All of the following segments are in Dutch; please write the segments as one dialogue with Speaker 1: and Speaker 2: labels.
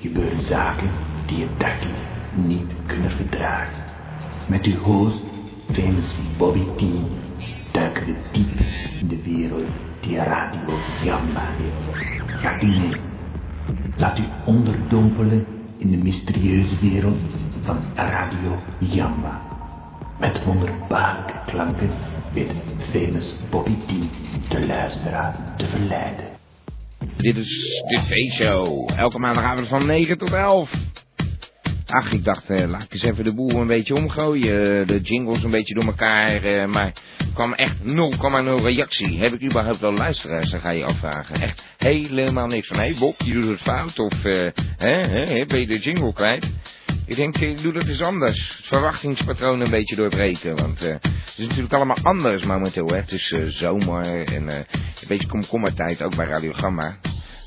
Speaker 1: gebeuren zaken die je dagelijks niet kunnen verdragen. Met uw host, famous Bobby T, duiken we diep in de wereld die Radio Jamba heeft. Gaat u mee. Laat u onderdompelen in de mysterieuze wereld van Radio Jamba. Met wonderbaarlijke klanken weet famous Bobby T de luisteraar te verleiden.
Speaker 2: Dit is de T-show. Elke maandagavond van 9 tot 11. Ach, ik dacht, eh, laat ik eens even de boel een beetje omgooien. eh, De jingles een beetje door elkaar. eh, Maar er kwam echt 0,0 reactie. Heb ik überhaupt wel luisteraars? Dan ga je je afvragen. Echt helemaal niks van. Hé hey Bob, je doet het fout. Of eh, hè, hè, ben je de jingle kwijt? Ik denk, eh, ik doe dat eens anders. Het verwachtingspatroon een beetje doorbreken. Want eh, het is natuurlijk allemaal anders momenteel. Hè. Het is eh, zomer en eh, een beetje komkommertijd ook bij Radio Gamma.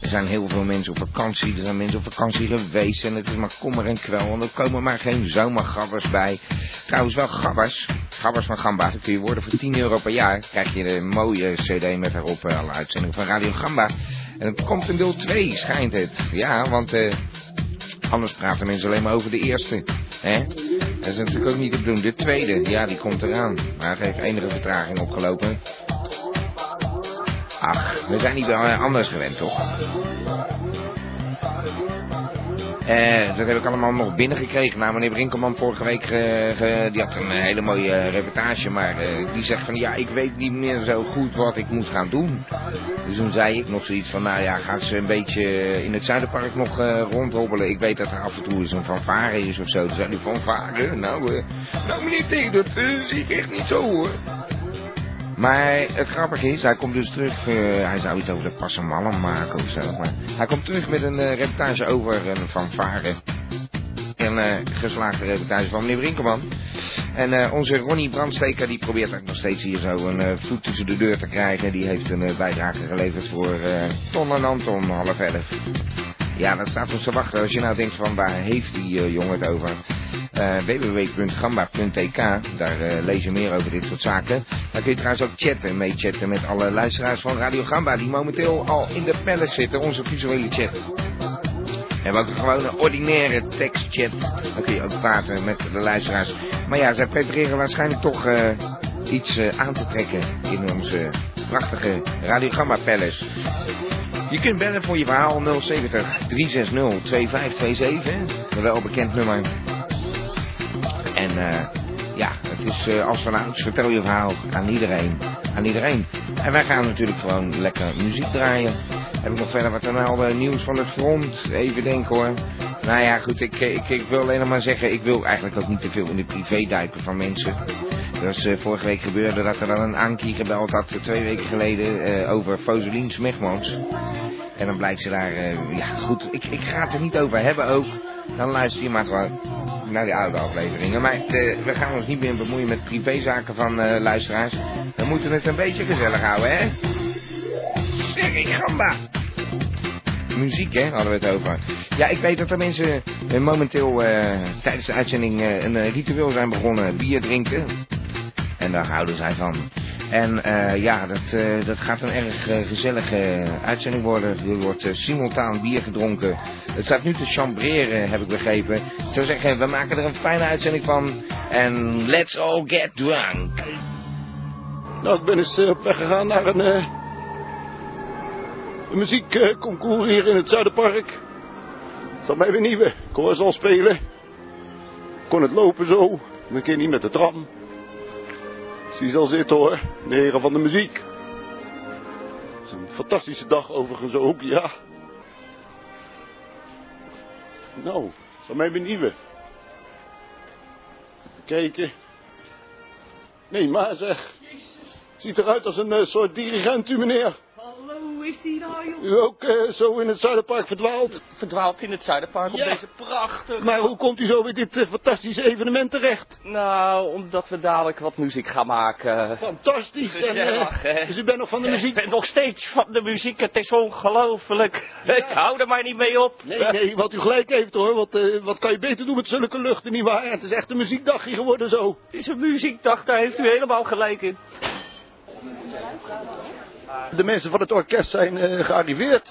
Speaker 2: Er zijn heel veel mensen op vakantie. Er zijn mensen op vakantie geweest. En het is maar kommer en kwel. Want er komen maar geen zomergabbers bij. Trouwens wel gabbers. Gabbers van Gamba. Dat kun je worden voor 10 euro per jaar. Krijg je een mooie cd met daarop eh, alle uitzendingen van Radio Gamba. En het komt in deel 2 schijnt het. Ja, want... eh, Anders praten mensen alleen maar over de eerste. Hè? Dat is natuurlijk ook niet te doen. De tweede, ja, die komt eraan. Maar het heeft enige vertraging opgelopen. Ach, we zijn niet wel eh, anders gewend, toch? Eh, dat heb ik allemaal nog binnengekregen. Nou, meneer Brinkelman vorige week, eh, ge- die had een hele mooie eh, reportage, maar eh, die zegt van ja, ik weet niet meer zo goed wat ik moet gaan doen. Dus toen zei ik nog zoiets van, nou ja, gaan ze een beetje eh, in het Zuiderpark nog eh rondhobbelen. Ik weet dat er af en toe eens een fanfare is of zo. Toen zei die fanfare, nou, eh, nou meneer T, dat eh, zie ik echt niet zo hoor. Maar het grappige is, hij komt dus terug. eh, hij zou iets over de Passamallen maken of zo. Maar hij komt terug met een eh, reportage over een fanfare. Een eh, geslaagde reportage van meneer Brinkelman. En eh, onze Ronnie Brandsteker die probeert ook nog steeds hier zo een eh, voet tussen de deur te krijgen. Die heeft een eh, bijdrage geleverd voor eh, Ton en Anton half elf. Ja, dat staat ons te wachten. Als je nou denkt van waar heeft die eh, jongen het over? Eh, www.gamba.tk, daar eh, lees je meer over dit soort zaken. Daar kun je trouwens ook chatten, mee chatten met alle luisteraars van Radio Gamba die momenteel al in de palace zitten, onze visuele chat. En wat gewoon een ordinaire tekstchat. Dan kun je ook praten met de luisteraars. Maar ja, zij prepareren waarschijnlijk toch eh, iets eh, aan te trekken in onze prachtige Radiogramma Palace. Je kunt bellen voor je verhaal 070 360 2527. Een welbekend nummer. En eh, ja, het is eh, als vanouds. Vertel je verhaal aan iedereen. Aan iedereen. En wij gaan natuurlijk gewoon lekker muziek draaien. Heb ik nog verder wat aan al nieuws van het front? Even denken hoor. Nou ja, goed, ik, ik, ik wil alleen nog maar zeggen, ik wil eigenlijk ook niet te veel in de privé duiken van mensen. Dus eh, vorige week gebeurde dat er dan een Ankie gebeld had, eh, twee weken geleden, eh, over Foselien Smegmans. En dan blijkt ze daar, eh, ja goed, ik, ik ga het er niet over hebben ook. Dan luister je maar gewoon naar die oude afleveringen. Maar eh, we gaan ons niet meer bemoeien met privézaken van eh, luisteraars. We moeten het een beetje gezellig houden, hè? Zeg ik gamba! Muziek, hè, hadden we het over. Ja, ik weet dat er mensen eh, momenteel eh, tijdens de uitzending eh, een eh, ritueel zijn begonnen. Bier drinken. En daar houden zij van. En eh, ja, dat, eh, dat gaat een erg eh, gezellige uitzending worden. Er wordt eh, simultaan bier gedronken. Het staat nu te chambreren, heb ik begrepen. Ik zou zeggen, we maken er een fijne uitzending van. En let's all get drunk.
Speaker 3: Nou, ik ben eens eh, op weg gegaan naar een, eh, een muziekconcours hier in het Zuiderpark. Dat mij weer nieuw. Ik kon eens al spelen. Kon het lopen zo. Een keer niet met de tram. Zie ze al zitten hoor. De heren van de muziek. Het is een fantastische dag overigens ook, ja. Nou, dat mij weer nieuw. Even Kijken. Nee, maar zeg.
Speaker 4: Jezus,
Speaker 3: Ziet eruit als een eh, soort dirigent, u meneer.
Speaker 4: hallo, is die nou, joh?
Speaker 3: U ook eh, zo in het Zuiderpark verdwaald.
Speaker 4: Verdwaald in het Zuiderpark
Speaker 3: Ja.
Speaker 4: op deze prachtige...
Speaker 3: Maar hoe komt u zo bij dit eh, fantastische evenement terecht?
Speaker 4: Nou, omdat we dadelijk wat muziek gaan maken.
Speaker 3: Fantastisch. En, eh,
Speaker 4: Eh, Gezellig, hè? Eh.
Speaker 3: dus u bent nog van de
Speaker 4: Ik ben
Speaker 3: muziek?
Speaker 4: nog steeds van de muziek, het is ongelooflijk. Ik hou er maar niet mee op.
Speaker 3: Nee, nee, wat u gelijk heeft hoor. Wat, eh, wat kan je beter doen met zulke luchten, nietwaar? Het is echt een muziekdagje geworden zo.
Speaker 4: Het is een muziekdag, daar heeft u helemaal gelijk in.
Speaker 3: De mensen van het orkest zijn eh, gearriveerd.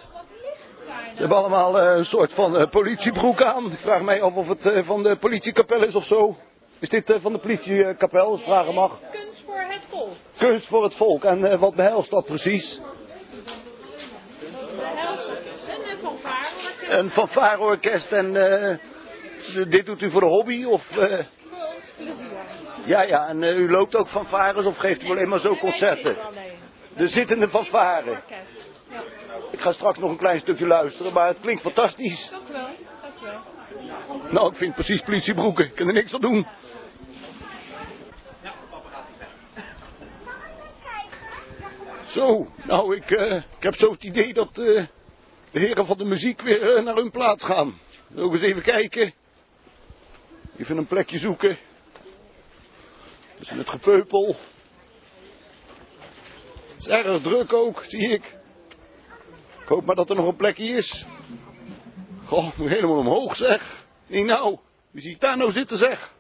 Speaker 3: Ze hebben allemaal eh, een soort van eh, politiebroek aan. Ik vraag mij af of het eh, van de politiekapel is of zo. Is dit eh, van de politiekapel, als ik vragen mag?
Speaker 5: Kunst voor het volk.
Speaker 3: Kunst voor het volk. En eh, wat behelst dat precies?
Speaker 5: De helsen en van vaarlijk.
Speaker 3: Een fanfareorkest en eh, d- dit doet u voor de hobby? Of, eh,
Speaker 5: Voor ons plezier.
Speaker 3: ja, ja, en eh, u loopt ook fanfares of geeft u alleen maar zo concerten? De zittende fanfare.
Speaker 5: Orkest.
Speaker 3: Ik ga straks nog een klein stukje luisteren, maar het klinkt fantastisch.
Speaker 5: Dank wel, dank wel.
Speaker 3: Nou, ik vind precies politiebroeken. Ik kan er niks aan doen. Zo, nou, ik, eh, ik heb zo het idee dat eh, de heren van de muziek weer eh, naar hun plaats gaan. Ook eens even kijken. Even een plekje zoeken. Tussen het gepeupel. Het is erg druk ook, zie ik. Ik hoop maar dat er nog een plekje is. Goh, ik Oh, moet helemaal omhoog zeg. Nee nou, wie zie ik daar nou zitten zeg?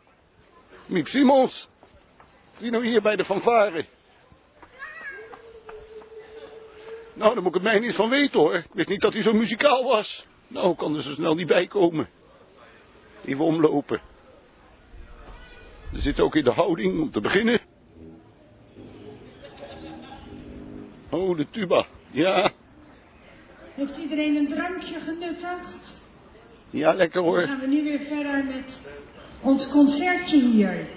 Speaker 3: Miep Simons. Die nou hier bij de fanfare. Nou, daar moet ik het mij niet eens van weten hoor. Ik wist niet dat hij zo muzikaal was. Nou, ik kan er zo snel niet bij komen. Even omlopen. Er zit ook in de houding om te beginnen. Oh, de tuba. Ja,
Speaker 6: Heeft iedereen een drankje genuttigd?
Speaker 3: ja, lekker
Speaker 6: Dan
Speaker 3: hoor.
Speaker 6: gaan we nu weer verder met ons concertje hier.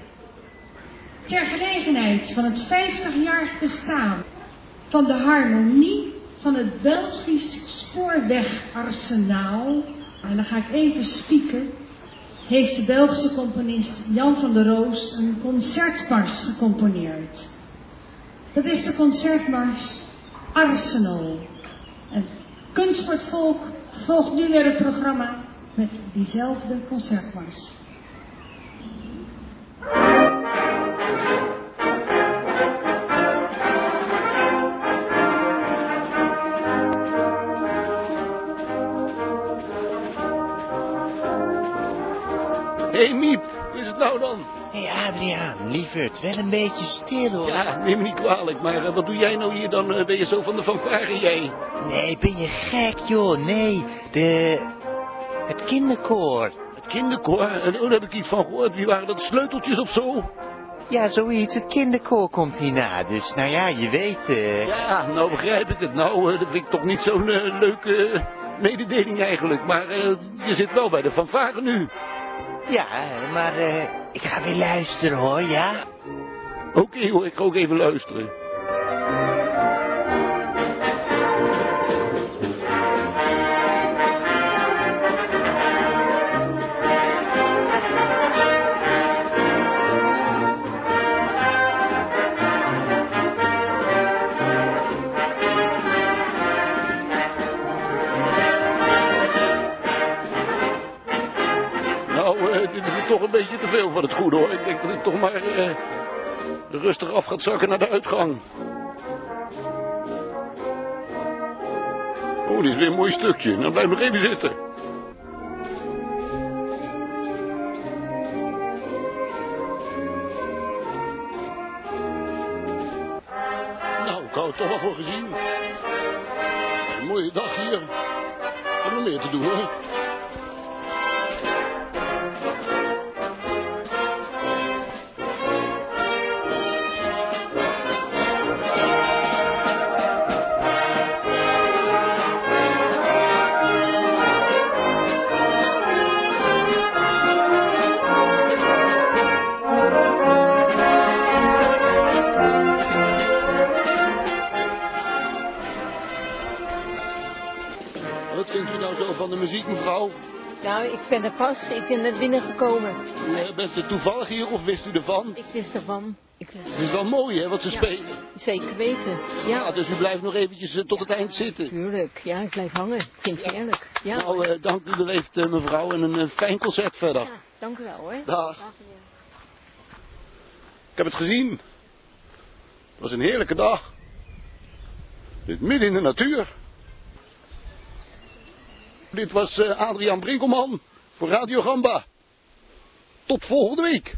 Speaker 6: Ter gelegenheid van het 50-jarig bestaan van de harmonie van het Belgisch spoorwegarsenaal. En dan ga ik even spieken. Heeft de Belgische componist Jan van der Roos een concertmars gecomponeerd? Dat is de concertmars Arsenal. En Kunst voor het Volk volgt nu weer een programma met diezelfde concertmars.
Speaker 3: Hé hey, Miep, hoe is het nou dan?
Speaker 7: Hé Adriaan, lieverd, wel een beetje stil hoor.
Speaker 3: Ja, neem me niet kwalijk, maar eh, wat doe jij nou hier dan? eh, ben je zo van de fanfare jij?
Speaker 7: Nee, ben je gek joh, nee. De... Het kinderkoor.
Speaker 3: Het kinderkoor, en daar heb ik iets van gehoord. Wie waren dat, sleuteltjes of zo?
Speaker 7: Ja, zoiets, het kinderkoor komt hierna, dus nou ja, je weet eh.
Speaker 3: Ja, nou begrijp ik het. Nou, eh, dat vind ik toch niet zo'n eh, leuke eh, mededeling eigenlijk. Maar eh, je zit wel bij de fanfare nu.
Speaker 7: Ja, maar eh, ik ga weer luisteren hoor, ja?
Speaker 3: Oké hoor, ik ga ook even luisteren. Nou, eh, dit is toch een beetje te veel van het goede hoor. Ik denk dat ik toch maar eh, rustig af gaat zakken naar de uitgang. Oh, dit is weer een mooi stukje. Nou, blijf nog even zitten. Nou, ik hou het toch wel voor gezien. Een mooie dag hier. En nog meer te doen hoor. Wat vindt u nou zo van de muziek, mevrouw?
Speaker 8: Nou, ik ben er pas. Ik ben net binnengekomen.
Speaker 3: U eh, bent er toevallig hier of wist u ervan?
Speaker 8: Ik wist ervan. Ik wist
Speaker 3: Het is wel mooi, hè, wat ze
Speaker 8: Ja.
Speaker 3: spelen.
Speaker 8: zeker weten.
Speaker 3: Ja,
Speaker 8: Ja,
Speaker 3: dus u blijft nog eventjes eh, tot het eind zitten.
Speaker 8: tuurlijk. Ja, ik blijf hangen. Ik vind het heerlijk. Ja.
Speaker 3: Nou, eh, dank u beleefd, eh, mevrouw, en een eh, fijn concert verder.
Speaker 8: ja, dank u wel hoor.
Speaker 3: Dag. Ik heb het gezien. Het was een heerlijke dag. Dit midden in de natuur. Dit was eh, Adriaan Brinkelman voor Radio Gamba. Tot volgende week.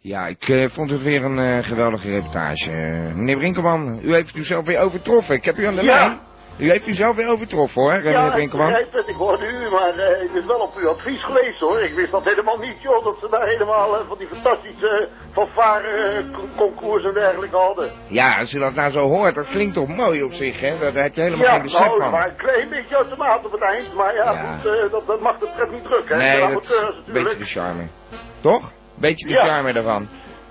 Speaker 2: Ja, ik eh, vond het weer een eh, geweldige reportage. Eh, meneer Brinkelman, u heeft uzelf weer overtroffen. Ik heb u aan de
Speaker 4: Ja.
Speaker 2: lijn. U heeft uzelf weer overtroffen hoor, meneer
Speaker 9: Ja, ik
Speaker 2: Brinkman.
Speaker 9: begrijp het, ik hoorde u, maar eh, ik ben wel op uw advies geweest hoor. Ik wist dat helemaal niet joh, dat ze daar helemaal eh, van die fantastische uh, fanfare-concours en dergelijke hadden.
Speaker 2: Ja, als u dat nou zo hoort, dat klinkt toch mooi op zich, hè? Daar heb je helemaal
Speaker 9: ja,
Speaker 2: geen besef
Speaker 9: nou,
Speaker 2: van.
Speaker 9: maar een klein beetje uit de maat op het eind, maar ja,
Speaker 2: Ja.
Speaker 9: goed, eh, dat, dat mag de pret niet drukken. hè.
Speaker 2: Nee,
Speaker 9: De
Speaker 2: dat is
Speaker 9: amateurs
Speaker 2: een beetje
Speaker 9: eh, natuurlijk.
Speaker 2: de charme. Toch? Beetje de
Speaker 9: Ja.
Speaker 2: charme ervan.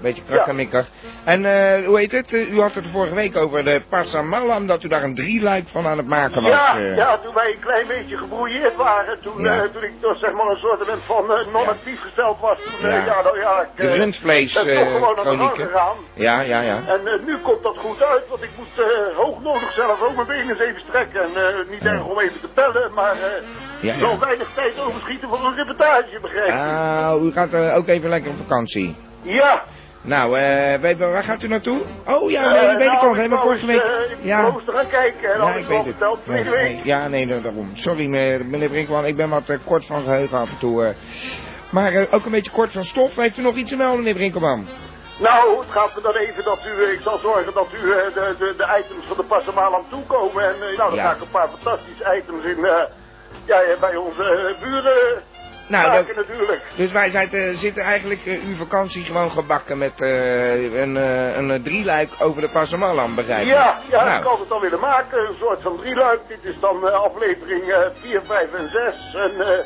Speaker 2: Beetje krakkemikkig. En eh, hoe heet het? Eh, U had het vorige week over de Pasamalam, dat u daar een drieluik van aan het maken was.
Speaker 9: Ja,
Speaker 2: eh.
Speaker 9: ja, toen wij een klein beetje gebrouilleerd waren, toen,
Speaker 2: Ja.
Speaker 9: eh, toen ik toch zeg maar een soort van eh, non-actief gesteld was, toen, eh,
Speaker 2: Ja.
Speaker 9: ja. nou ja, ik
Speaker 2: De
Speaker 9: eh,
Speaker 2: rundvlees,
Speaker 9: ben
Speaker 2: eh,
Speaker 9: toch gewoon aan de gang
Speaker 2: chronieken.
Speaker 9: gegaan.
Speaker 2: Ja, ja, ja.
Speaker 9: En eh, nu komt dat goed uit, want ik moest eh hoognodig zelf ook mijn benen eens even strekken. En eh, niet erg om even te bellen, maar eh
Speaker 2: Ja, ja.
Speaker 9: wel weinig tijd overschieten voor een reportage, begrijp je?
Speaker 2: Ah, u gaat eh, ook even lekker op vakantie.
Speaker 9: ja.
Speaker 2: Nou, eh, weet- waar gaat u naartoe? Oh ja, nee,
Speaker 9: Eh,
Speaker 2: dat weet ik
Speaker 9: nou,
Speaker 2: al. Helemaal
Speaker 9: wou
Speaker 2: vorige
Speaker 9: eens,
Speaker 2: week.
Speaker 9: eh, ik
Speaker 2: ja.
Speaker 9: moest er gaan kijken en
Speaker 2: Ja,
Speaker 9: had ik al verteld
Speaker 2: Nee,
Speaker 9: tweede week.
Speaker 2: nee, ja, nee, da- daarom. Sorry, meneer meneer Brinkman, ik ben wat eh, kort van geheugen af en toe. eh. Maar eh, ook een beetje kort van stof. Heeft u nog iets te melden, meneer Brinkman?
Speaker 9: Nou, het gaat me dan even dat u, eh, ik zal zorgen dat u eh, de, de, de items van de Passamaal aan toekomen. En eh, nou, dan
Speaker 2: Ja.
Speaker 9: ga ik een paar fantastische items in, eh, ja, eh, bij onze eh, buren
Speaker 2: Nou,
Speaker 9: maken natuurlijk.
Speaker 2: Dus wij zijn te- zitten eigenlijk eh, uw vakantie gewoon gebakken met eh, een, eh, een eh, drieluik over de Pasamalam, begrijp ik?
Speaker 9: Ja, ja,
Speaker 2: Nou,
Speaker 9: ik had het dan willen maken. Een soort van drieluik. Dit is dan eh, aflevering eh, 4, 5 en 6. En eh,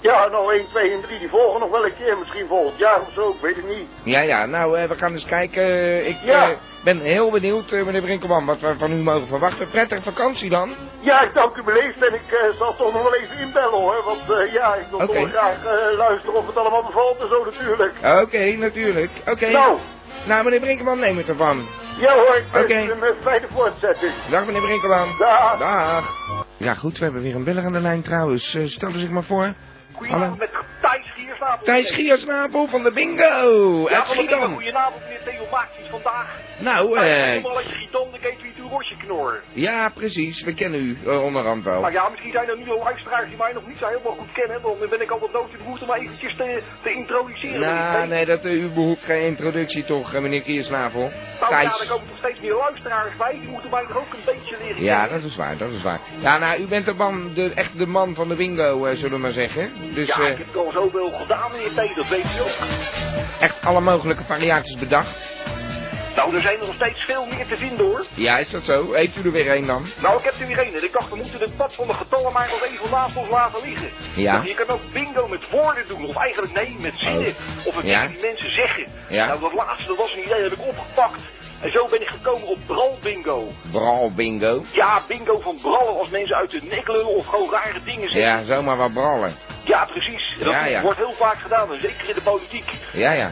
Speaker 9: ja, nou 1, 2 en 3 die volgen nog wel een keer. Misschien volgend jaar of zo, ik weet het niet.
Speaker 2: Ja, ja, nou, eh, we gaan eens kijken. Eh, Ik
Speaker 9: Ja.
Speaker 2: eh, ben heel benieuwd, eh, meneer Brinkman, wat we van u mogen verwachten. Prettige vakantie dan.
Speaker 9: Ja, ik dank u beleefd en ik eh, zal toch nog wel even inbellen hoor. Want eh, ja, ik wil
Speaker 2: Oké.
Speaker 9: toch graag eh, luisteren of het allemaal bevalt en zo natuurlijk.
Speaker 2: Oké, natuurlijk. Oké.
Speaker 9: Nou,
Speaker 2: Nou, meneer Brinkman, neem het ervan.
Speaker 9: ja hoor, ik wens
Speaker 2: Oké.
Speaker 9: u een eh, fijne voortzetting.
Speaker 2: Dag, meneer Brinkman.
Speaker 9: Dag.
Speaker 2: Dag. Ja, goed, we hebben weer een beller aan de lijn trouwens. Eh, stel u zich maar voor. Hallo.
Speaker 9: met Thijs Giersnavel.
Speaker 2: Thijs Giersnavel van de Bingo uit Schiedam.
Speaker 9: Goedenavond, meneer Theo Maakjes vandaag.
Speaker 2: Nou, eh,
Speaker 9: Helemaal uit Schiedam, dan weet u het uw rosje knorren.
Speaker 2: ja, precies. We kennen u eh, onderhand wel.
Speaker 9: Nou ja, misschien zijn er nu al luisteraars die mij nog niet zo helemaal goed kennen. Dan ben ik altijd dood in de moeite om eventjes te, te introduceren.
Speaker 2: Nou,
Speaker 9: Weet je?
Speaker 2: nee, dat, eh, u behoeft geen introductie toch, eh, meneer Giersnavel.
Speaker 9: Nou ja, er
Speaker 2: Thijs.
Speaker 9: komen toch steeds meer luisteraars bij. Die moeten mij toch ook een beetje leren
Speaker 2: Ja,
Speaker 9: kennen.
Speaker 2: dat is waar, dat is waar. Ja, nou, u bent de man, de, echt de man van de bingo, eh, zullen we maar zeggen. Dus
Speaker 9: ja,
Speaker 2: eh,
Speaker 9: ik heb het al zoveel gedaan, meneer T, dat weet je ook.
Speaker 2: echt alle mogelijke variaties bedacht.
Speaker 9: Nou, er zijn er nog steeds veel meer te vinden, hoor.
Speaker 2: Ja, is dat zo? Heeft u er weer een dan?
Speaker 9: Nou, ik heb er weer een. En ik dacht, we moeten het pad van de getallen maar nog even naast ons laten liggen.
Speaker 2: Ja.
Speaker 9: Want je kan ook bingo met woorden doen. Of eigenlijk, nee, met zinnen. Of het
Speaker 2: Oh. Ja.
Speaker 9: dingen die mensen zeggen.
Speaker 2: Ja.
Speaker 9: Nou, dat laatste, dat was een idee, dat heb ik opgepakt. En zo ben ik gekomen op bralbingo.
Speaker 2: Braal bingo.
Speaker 9: Ja, bingo van brallen als mensen uit de nek lullen of gewoon rare dingen zeggen.
Speaker 2: Ja, zomaar wat brallen.
Speaker 9: Ja, precies. Dat
Speaker 2: Ja, ja.
Speaker 9: wordt heel vaak gedaan, en zeker in de politiek.
Speaker 2: Ja, ja.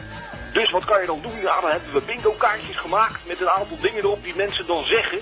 Speaker 9: Dus wat kan je dan doen? Ja, dan hebben we bingo kaartjes gemaakt met een aantal dingen erop die mensen dan zeggen.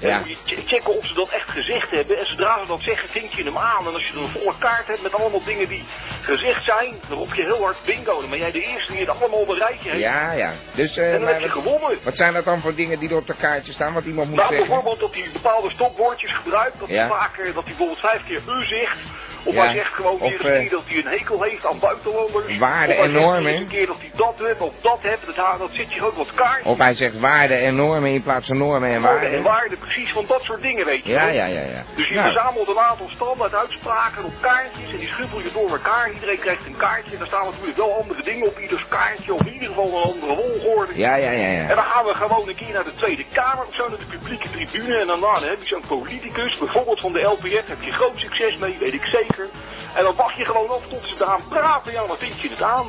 Speaker 9: En
Speaker 2: Ja.
Speaker 9: dan moet je che- checken of ze dat echt gezegd hebben. En zodra ze dat zeggen, vink je hem aan. En als je dan een volle kaart hebt met allemaal dingen die gezegd zijn, dan roep je heel hard bingo. Dan ben jij de eerste die het allemaal op een rijtje heeft.
Speaker 2: Ja, ja. Dus, eh,
Speaker 9: En dan
Speaker 2: maar
Speaker 9: heb je
Speaker 2: wat-
Speaker 9: gewonnen.
Speaker 2: wat zijn dat dan voor dingen die er op de kaartje staan, wat iemand moet
Speaker 9: Nou,
Speaker 2: zeggen?
Speaker 9: bijvoorbeeld dat hij bepaalde stopwoordjes gebruikt. Dat
Speaker 2: Ja.
Speaker 9: hij vaker, dat hij bijvoorbeeld vijf keer u zegt. Of
Speaker 2: Ja.
Speaker 9: hij zegt gewoon
Speaker 2: Of,
Speaker 9: weer eens een
Speaker 2: eh,
Speaker 9: keer dat hij een hekel heeft aan buitenlanders.
Speaker 2: Waarde
Speaker 9: Of hij zegt
Speaker 2: enorm,
Speaker 9: weer eens
Speaker 2: hè?
Speaker 9: een keer dat hij dat hebt of dat hebt. Dat, dat zit je ook wat kaartjes.
Speaker 2: Of hij zegt waarden en normen in plaats van normen en
Speaker 9: waarde en
Speaker 2: waarden.
Speaker 9: waarde, precies van dat soort dingen, weet je
Speaker 2: Ja,
Speaker 9: wel.
Speaker 2: ja, ja, ja.
Speaker 9: Dus je
Speaker 2: Nou,
Speaker 9: verzamelt een aantal standaard uitspraken op kaartjes en die schuffel je door elkaar. Iedereen krijgt een kaartje en daar staan natuurlijk wel andere dingen op ieders kaartje, of in ieder geval een andere volgorde.
Speaker 2: ja, ja, ja,
Speaker 9: En
Speaker 2: ja.
Speaker 9: dan gaan we gewoon een keer naar de Tweede Kamer of zo, naar de publieke tribune. En daarna dan heb je zo'n politicus, bijvoorbeeld van de LPF, heb je groot succes mee, weet ik zeker. En dan wacht je gewoon af tot ze daaraan praten. Ja, dan vind je het aan.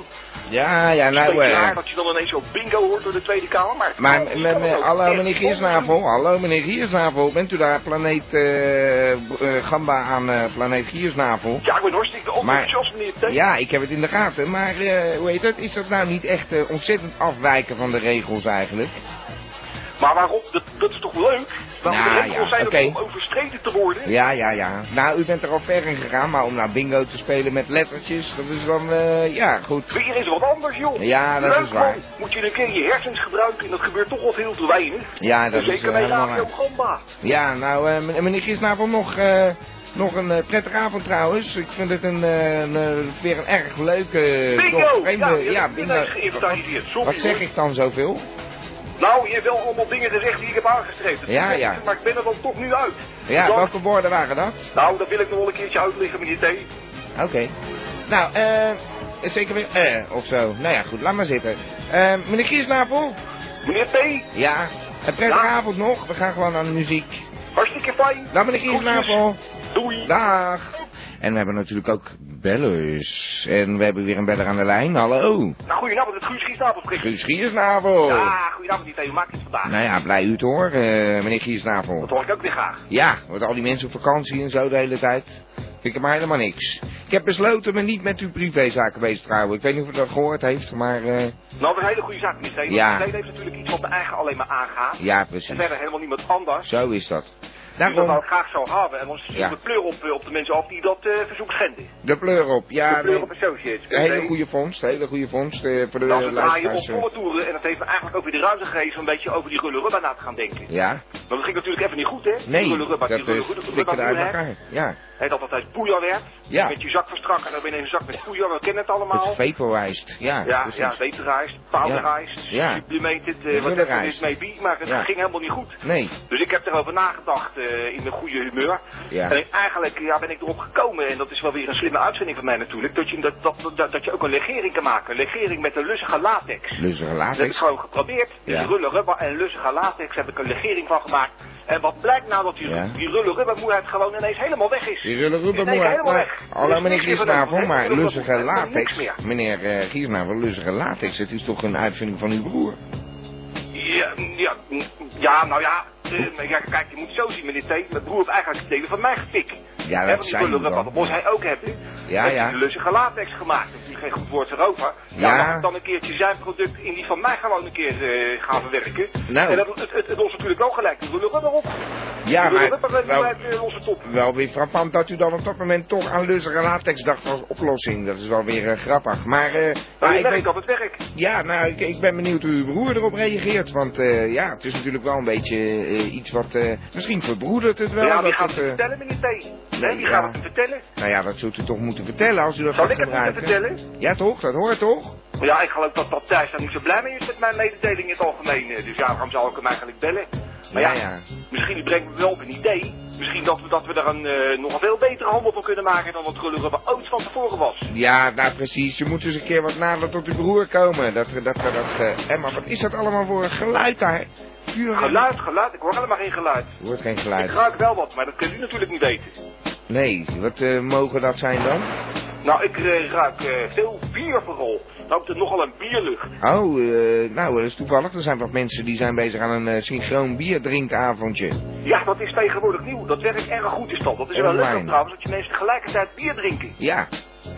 Speaker 2: Ja, ja,
Speaker 9: Het is een
Speaker 2: nou,
Speaker 9: beetje raar
Speaker 2: eh.
Speaker 9: dat je dan ineens zo bingo hoort door de Tweede Kamer. Maar,
Speaker 2: Maar, eh,
Speaker 9: het
Speaker 2: m-
Speaker 9: kan
Speaker 2: m-
Speaker 9: ook.
Speaker 2: hallo
Speaker 9: Echt,
Speaker 2: meneer Giersnavel, hallo meneer Giersnavel, bent u daar planeet eh, b- eh, Gamba aan eh, planeet Giersnavel?
Speaker 9: Ja, ik ben hartstikke
Speaker 2: Maar-
Speaker 9: enthousiast, meneer T.
Speaker 2: Ja, ik heb het in de gaten, maar eh, hoe heet dat? Is dat nou niet echt eh, ontzettend afwijken van de regels eigenlijk?
Speaker 9: Maar waarom? Dat, dat is toch leuk? Waarom
Speaker 2: Nou,
Speaker 9: de regels
Speaker 2: ja,
Speaker 9: zijn er om
Speaker 2: oké.
Speaker 9: overstreden te worden?
Speaker 2: Ja, ja, ja. Nou, u bent er al ver in gegaan, maar om nou bingo te spelen met lettertjes, dat is dan, eh, ja, goed.
Speaker 9: Weer is wat anders, joh.
Speaker 2: Ja, dat
Speaker 9: leuk,
Speaker 2: is waar.
Speaker 9: Man. Moet je een keer je hersens gebruiken en dat gebeurt toch wat heel te weinig.
Speaker 2: Ja, dat is
Speaker 9: Zeker
Speaker 2: eh,
Speaker 9: bij
Speaker 2: helemaal
Speaker 9: Radio
Speaker 2: waar.
Speaker 9: Gamba.
Speaker 2: Ja, nou, eh, men- meneer Gisnavel, nog, eh, nog een eh, prettige avond trouwens. Ik vind het een, eh, een, eh, weer een erg leuke...
Speaker 9: Bingo!
Speaker 2: Eh, toch vreemde-
Speaker 9: Ja, je hebt
Speaker 2: ja
Speaker 9: het
Speaker 2: bingo.
Speaker 9: ineens geïnventariseerd. Sorry,
Speaker 2: Wat zeg
Speaker 9: hoor.
Speaker 2: ik dan zoveel?
Speaker 9: Nou, je hebt wel allemaal dingen gezegd die ik heb aangestreven.
Speaker 2: Ja, ja.
Speaker 9: Maar ik ben er dan toch nu uit.
Speaker 2: Ja,
Speaker 9: Dan-
Speaker 2: welke woorden waren dat?
Speaker 9: Nou, dat wil ik nog wel een keertje uitleggen, meneer T.
Speaker 2: Oké. Nou, eh, zeker weer, eh, of zo. Nou ja, goed, laat maar zitten. Eh, meneer Giesnapel?
Speaker 9: Meneer P,
Speaker 2: Ja, een prettige
Speaker 9: Ja.
Speaker 2: avond nog. We gaan gewoon aan de muziek.
Speaker 9: hartstikke fijn.
Speaker 2: Dag meneer Giesnapel.
Speaker 9: Doei.
Speaker 2: Dag. En we hebben natuurlijk ook bellers. En we hebben weer een beller aan de lijn. Hallo.
Speaker 9: Nou, goedenavond, het Guus Giesnapel spreekt.
Speaker 2: Guus Giesnapel.
Speaker 9: Ja, goedenavond, Ah, meneer T. Hoe maakt het vandaag?
Speaker 2: Nou ja, blij u te horen, eh, meneer Giesnapel.
Speaker 9: Dat hoor ik ook weer graag.
Speaker 2: Ja, met al die mensen op vakantie en zo de hele tijd. Ik heb maar helemaal niks. Ik heb besloten me niet met uw privézaken bezig te houden. Ik weet niet of u dat gehoord heeft, maar... eh,
Speaker 9: Nou, dat is een hele goede zaak, meneer T. Want
Speaker 2: Ja.
Speaker 9: iedereen heeft natuurlijk iets wat de eigen alleen maar aangaat.
Speaker 2: ja,
Speaker 9: En
Speaker 2: precies.
Speaker 9: verder helemaal niemand anders.
Speaker 2: Zo is dat.
Speaker 9: Die dat nou
Speaker 2: Daarom,
Speaker 9: graag zou hebben. En dan zien
Speaker 2: Ja.
Speaker 9: we pleur op, eh, op de mensen af die dat eh, verzoek schenden.
Speaker 2: de pleur op. Ja,
Speaker 9: de pleur
Speaker 2: nee,
Speaker 9: op Associates.
Speaker 2: een hele
Speaker 9: Nee.
Speaker 2: goede vondst. Hele goede vondst eh, voor de
Speaker 9: Nou, ze draaien op
Speaker 2: luisteraars. eh.
Speaker 9: volle toeren en dat heeft me eigenlijk ook weer de ruimte gegeven om een beetje over die gulle rubber na te gaan denken.
Speaker 2: Ja?
Speaker 9: Want dat ging natuurlijk even niet goed, hè? die
Speaker 2: Nee,
Speaker 9: gulle rubber,
Speaker 2: dat
Speaker 9: die gulle
Speaker 2: is
Speaker 9: rubber,
Speaker 2: flikkerde uit elkaar. Ja,
Speaker 9: Hè, dat dat uit poeier werd.
Speaker 2: Ja.
Speaker 9: Met je zak verstrak en dan ben je een zak met poeier, we kennen het allemaal.
Speaker 2: het vaporized. Ja,
Speaker 9: ja,
Speaker 2: precies.
Speaker 9: ja, weterreis, paalreis,
Speaker 2: Ja. Ja.
Speaker 9: sublimated,
Speaker 2: Gulle
Speaker 9: eh whatever it
Speaker 2: rijst.
Speaker 9: may be, maar het
Speaker 2: Ja.
Speaker 9: ging helemaal niet goed.
Speaker 2: Nee,
Speaker 9: Dus ik heb erover nagedacht eh, in mijn goede humeur.
Speaker 2: Ja.
Speaker 9: En eigenlijk ja, ben ik erop gekomen, en dat is wel weer een slimme uitzending van mij natuurlijk, dat je, dat, dat, dat, dat je ook een legering kan maken. Een legering met een lussige latex.
Speaker 2: lussige
Speaker 9: Dat heb ik
Speaker 2: latex.
Speaker 9: gewoon geprobeerd. Dus
Speaker 2: Ja.
Speaker 9: rulle rubber en lussige latex heb ik een legering van gemaakt. En wat blijkt nou dat die,
Speaker 2: Ja.
Speaker 9: die rulle rubbermoeheid gewoon ineens helemaal weg is.
Speaker 2: Die Oh, zullen roepen
Speaker 9: Nee,
Speaker 2: moe uit.
Speaker 9: helemaal
Speaker 2: Maar,
Speaker 9: weg. Er
Speaker 2: hallo
Speaker 9: is
Speaker 2: meneer
Speaker 9: niks meer
Speaker 2: Giesnavel,
Speaker 9: van
Speaker 2: maar
Speaker 9: over. Er
Speaker 2: lussige
Speaker 9: is
Speaker 2: latex.
Speaker 9: niks meer.
Speaker 2: Meneer eh Giesnavel, lussige latex, het is toch een uitvinding van uw broer?
Speaker 9: Ja, ja, ja, nou ja. eh, maar ja, kijk, je moet het zo zien, meneer T. Mijn broer heeft eigenlijk delen van mij gepikt.
Speaker 2: Ja, dat
Speaker 9: Hè, want die
Speaker 2: zei
Speaker 9: rulle
Speaker 2: u
Speaker 9: rubber,
Speaker 2: dan.
Speaker 9: Dat moest hij ook hebben.
Speaker 2: Ja,
Speaker 9: Heeft
Speaker 2: ja.
Speaker 9: hij de lussige latex gemaakt. Dat is natuurlijk geen goed woord erover.
Speaker 2: Ja.
Speaker 9: Ja. Mag ik dan een keertje zijn product in die van mij gewoon een keer eh, gaan verwerken.
Speaker 2: Nou.
Speaker 9: En dat, het, het, het ons natuurlijk wel gelijk de rulle rubber op.
Speaker 2: Ja,
Speaker 9: de rulle
Speaker 2: maar
Speaker 9: rubber
Speaker 2: wel,
Speaker 9: blijft eh, onze top.
Speaker 2: wel weer frappant dat u dan op dat moment toch aan lussige latex dacht als oplossing. Dat is wel weer eh, grappig. Maar,
Speaker 9: Maar
Speaker 2: eh, maar
Speaker 9: Nou, ik
Speaker 2: ik weet,
Speaker 9: werk op het werk.
Speaker 2: ja, nou, ik, ik ben benieuwd hoe uw broer erop reageert. Want eh, ja, het is natuurlijk wel een beetje eh, iets wat... eh, misschien verbroedert het wel.
Speaker 9: ja, die
Speaker 2: dat
Speaker 9: gaat
Speaker 2: het,
Speaker 9: het
Speaker 2: eh,
Speaker 9: vertellen, meneer T. Nee, die
Speaker 2: ja.
Speaker 9: gaat het vertellen.
Speaker 2: nou ja, dat zult u toch moeten vertellen als u dat
Speaker 9: Zal
Speaker 2: gaat
Speaker 9: ik het moeten
Speaker 2: gebruiken.
Speaker 9: vertellen?
Speaker 2: Ja toch, dat hoort toch?
Speaker 9: Ja, ik geloof dat, dat Thijs daar niet zo blij mee is met mijn mededeling in het algemeen. eh, Dus ja, waarom zou ik hem eigenlijk bellen? Maar ja,
Speaker 2: Ja, ja.
Speaker 9: misschien brengt het wel op een idee. Misschien dat we, dat we daar een, eh, nog een veel betere handel van kunnen maken dan wat Gullurubber ooit van tevoren was.
Speaker 2: Ja, nou precies. Je moet dus een keer wat nader tot uw broer komen. Dat, dat, dat, dat, eh, Emma, wat is dat allemaal voor een geluid daar? Vuur.
Speaker 9: Geluid, geluid, ik hoor helemaal geen geluid.
Speaker 2: Er Hoort geen
Speaker 9: Ik
Speaker 2: geluid.
Speaker 9: ruik wel wat, maar dat kunt u natuurlijk niet weten.
Speaker 2: Nee, wat eh, mogen dat zijn dan?
Speaker 9: Nou, ik eh, ruik eh, veel bier vooral. Nou, ik er nogal een bierlucht.
Speaker 2: Oh, eh, nou, dat is toevallig. Er zijn wat mensen die zijn bezig aan een eh, synchroon bierdrinkavondje.
Speaker 9: Ja, dat is tegenwoordig nieuw. Dat werkt erg goed is dat. Dat is wel
Speaker 2: Online.
Speaker 9: leuk trouwens, dat je mensen tegelijkertijd bier drinken.
Speaker 2: Ja,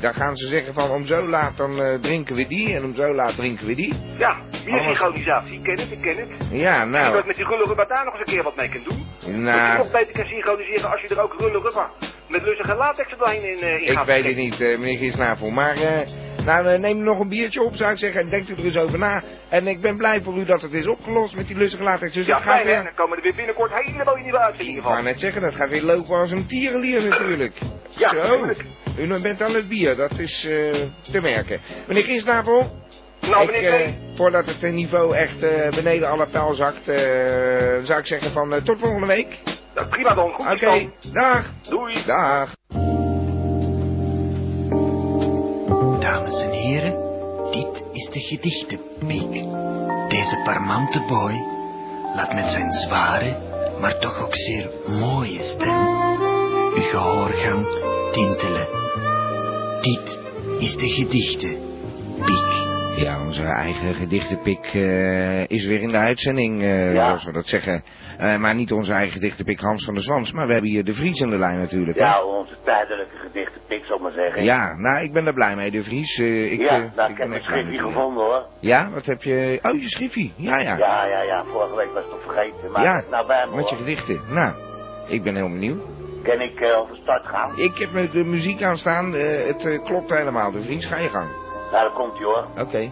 Speaker 2: daar gaan ze zeggen van om zo laat dan eh, drinken we die en om zo laat drinken we die.
Speaker 9: Ja, biersynchronisatie. Ik ken het, ik ken het.
Speaker 2: Ja,
Speaker 9: Ik
Speaker 2: nou,
Speaker 9: met die rulle rubber daar nog eens een keer wat mee kan doen. Dat je
Speaker 2: nou,
Speaker 9: nog beter kan synchroniseren als je er ook rulle rubber met lussige latex er doorheen in, eh, in
Speaker 2: ik
Speaker 9: gaat.
Speaker 2: weet het niet, eh, meneer Giesnavel. Maar, eh, nou, eh, neem nog een biertje op, zou ik zeggen, en denkt u er eens over na. En ik ben blij voor u dat het is opgelost met die lustige latex. Dus
Speaker 9: Ja,
Speaker 2: dat gaat
Speaker 9: fijn hè.
Speaker 2: weer...
Speaker 9: Dan komen er weer binnenkort hele mooie nieuwe
Speaker 2: Ik
Speaker 9: uitzendingen
Speaker 2: wou
Speaker 9: van.
Speaker 2: net zeggen, dat gaat weer lopen als een tierenlier natuurlijk.
Speaker 9: Ja,
Speaker 2: Zo,
Speaker 9: natuurlijk.
Speaker 2: u nou bent aan het bier, dat is eh, te merken. Meneer Giesnavel...
Speaker 9: Nou,
Speaker 2: Ik,
Speaker 9: meneer
Speaker 2: eh,
Speaker 9: T.
Speaker 2: voordat het eh, niveau echt eh, beneden alle pijl zakt, eh, zou ik zeggen van eh, tot volgende week.
Speaker 9: Nou, prima dan. Goed
Speaker 2: Oké,
Speaker 9: okay.
Speaker 2: dag.
Speaker 9: Doei.
Speaker 2: Dag.
Speaker 7: Dames en heren, dit is de gedichtenpiek. Deze parmante boy laat met zijn zware, maar toch ook zeer mooie stem uw gehoorgang tintelen. Dit is de gedichtenpiek.
Speaker 2: Ja, onze eigen gedichtenpik eh, is weer in de uitzending, eh,
Speaker 9: Ja.
Speaker 2: zoals we dat zeggen. Eh, maar niet onze eigen gedichtenpik Hans van der Zwans, maar we hebben hier de Vries aan de lijn natuurlijk. hè?
Speaker 10: Ja, onze tijdelijke gedichten, pik zal ik maar zeggen.
Speaker 2: Ja, nou, ik ben er blij mee, de Vries. eh, ik,
Speaker 10: Ja,
Speaker 2: eh,
Speaker 10: nou, ik
Speaker 2: ben
Speaker 10: heb mijn
Speaker 2: echt blij
Speaker 10: schriftje
Speaker 2: met u.
Speaker 10: gevonden hoor.
Speaker 2: Ja, wat heb je... Oh, je schriftje. Ja, ja.
Speaker 10: Ja, ja, ja, vorige week was het nog vergeten. Maar
Speaker 2: Ja,
Speaker 10: het is nou bij me
Speaker 2: Met je
Speaker 10: hoor.
Speaker 2: gedichten. Nou, ik ben heel benieuwd.
Speaker 10: Kan ik eh, over start gaan?
Speaker 2: Ik heb met de muziek aanstaan. eh het eh, klopt helemaal. De Vries, ga je gang.
Speaker 10: Nou, daar komt hij hoor.
Speaker 2: Oké.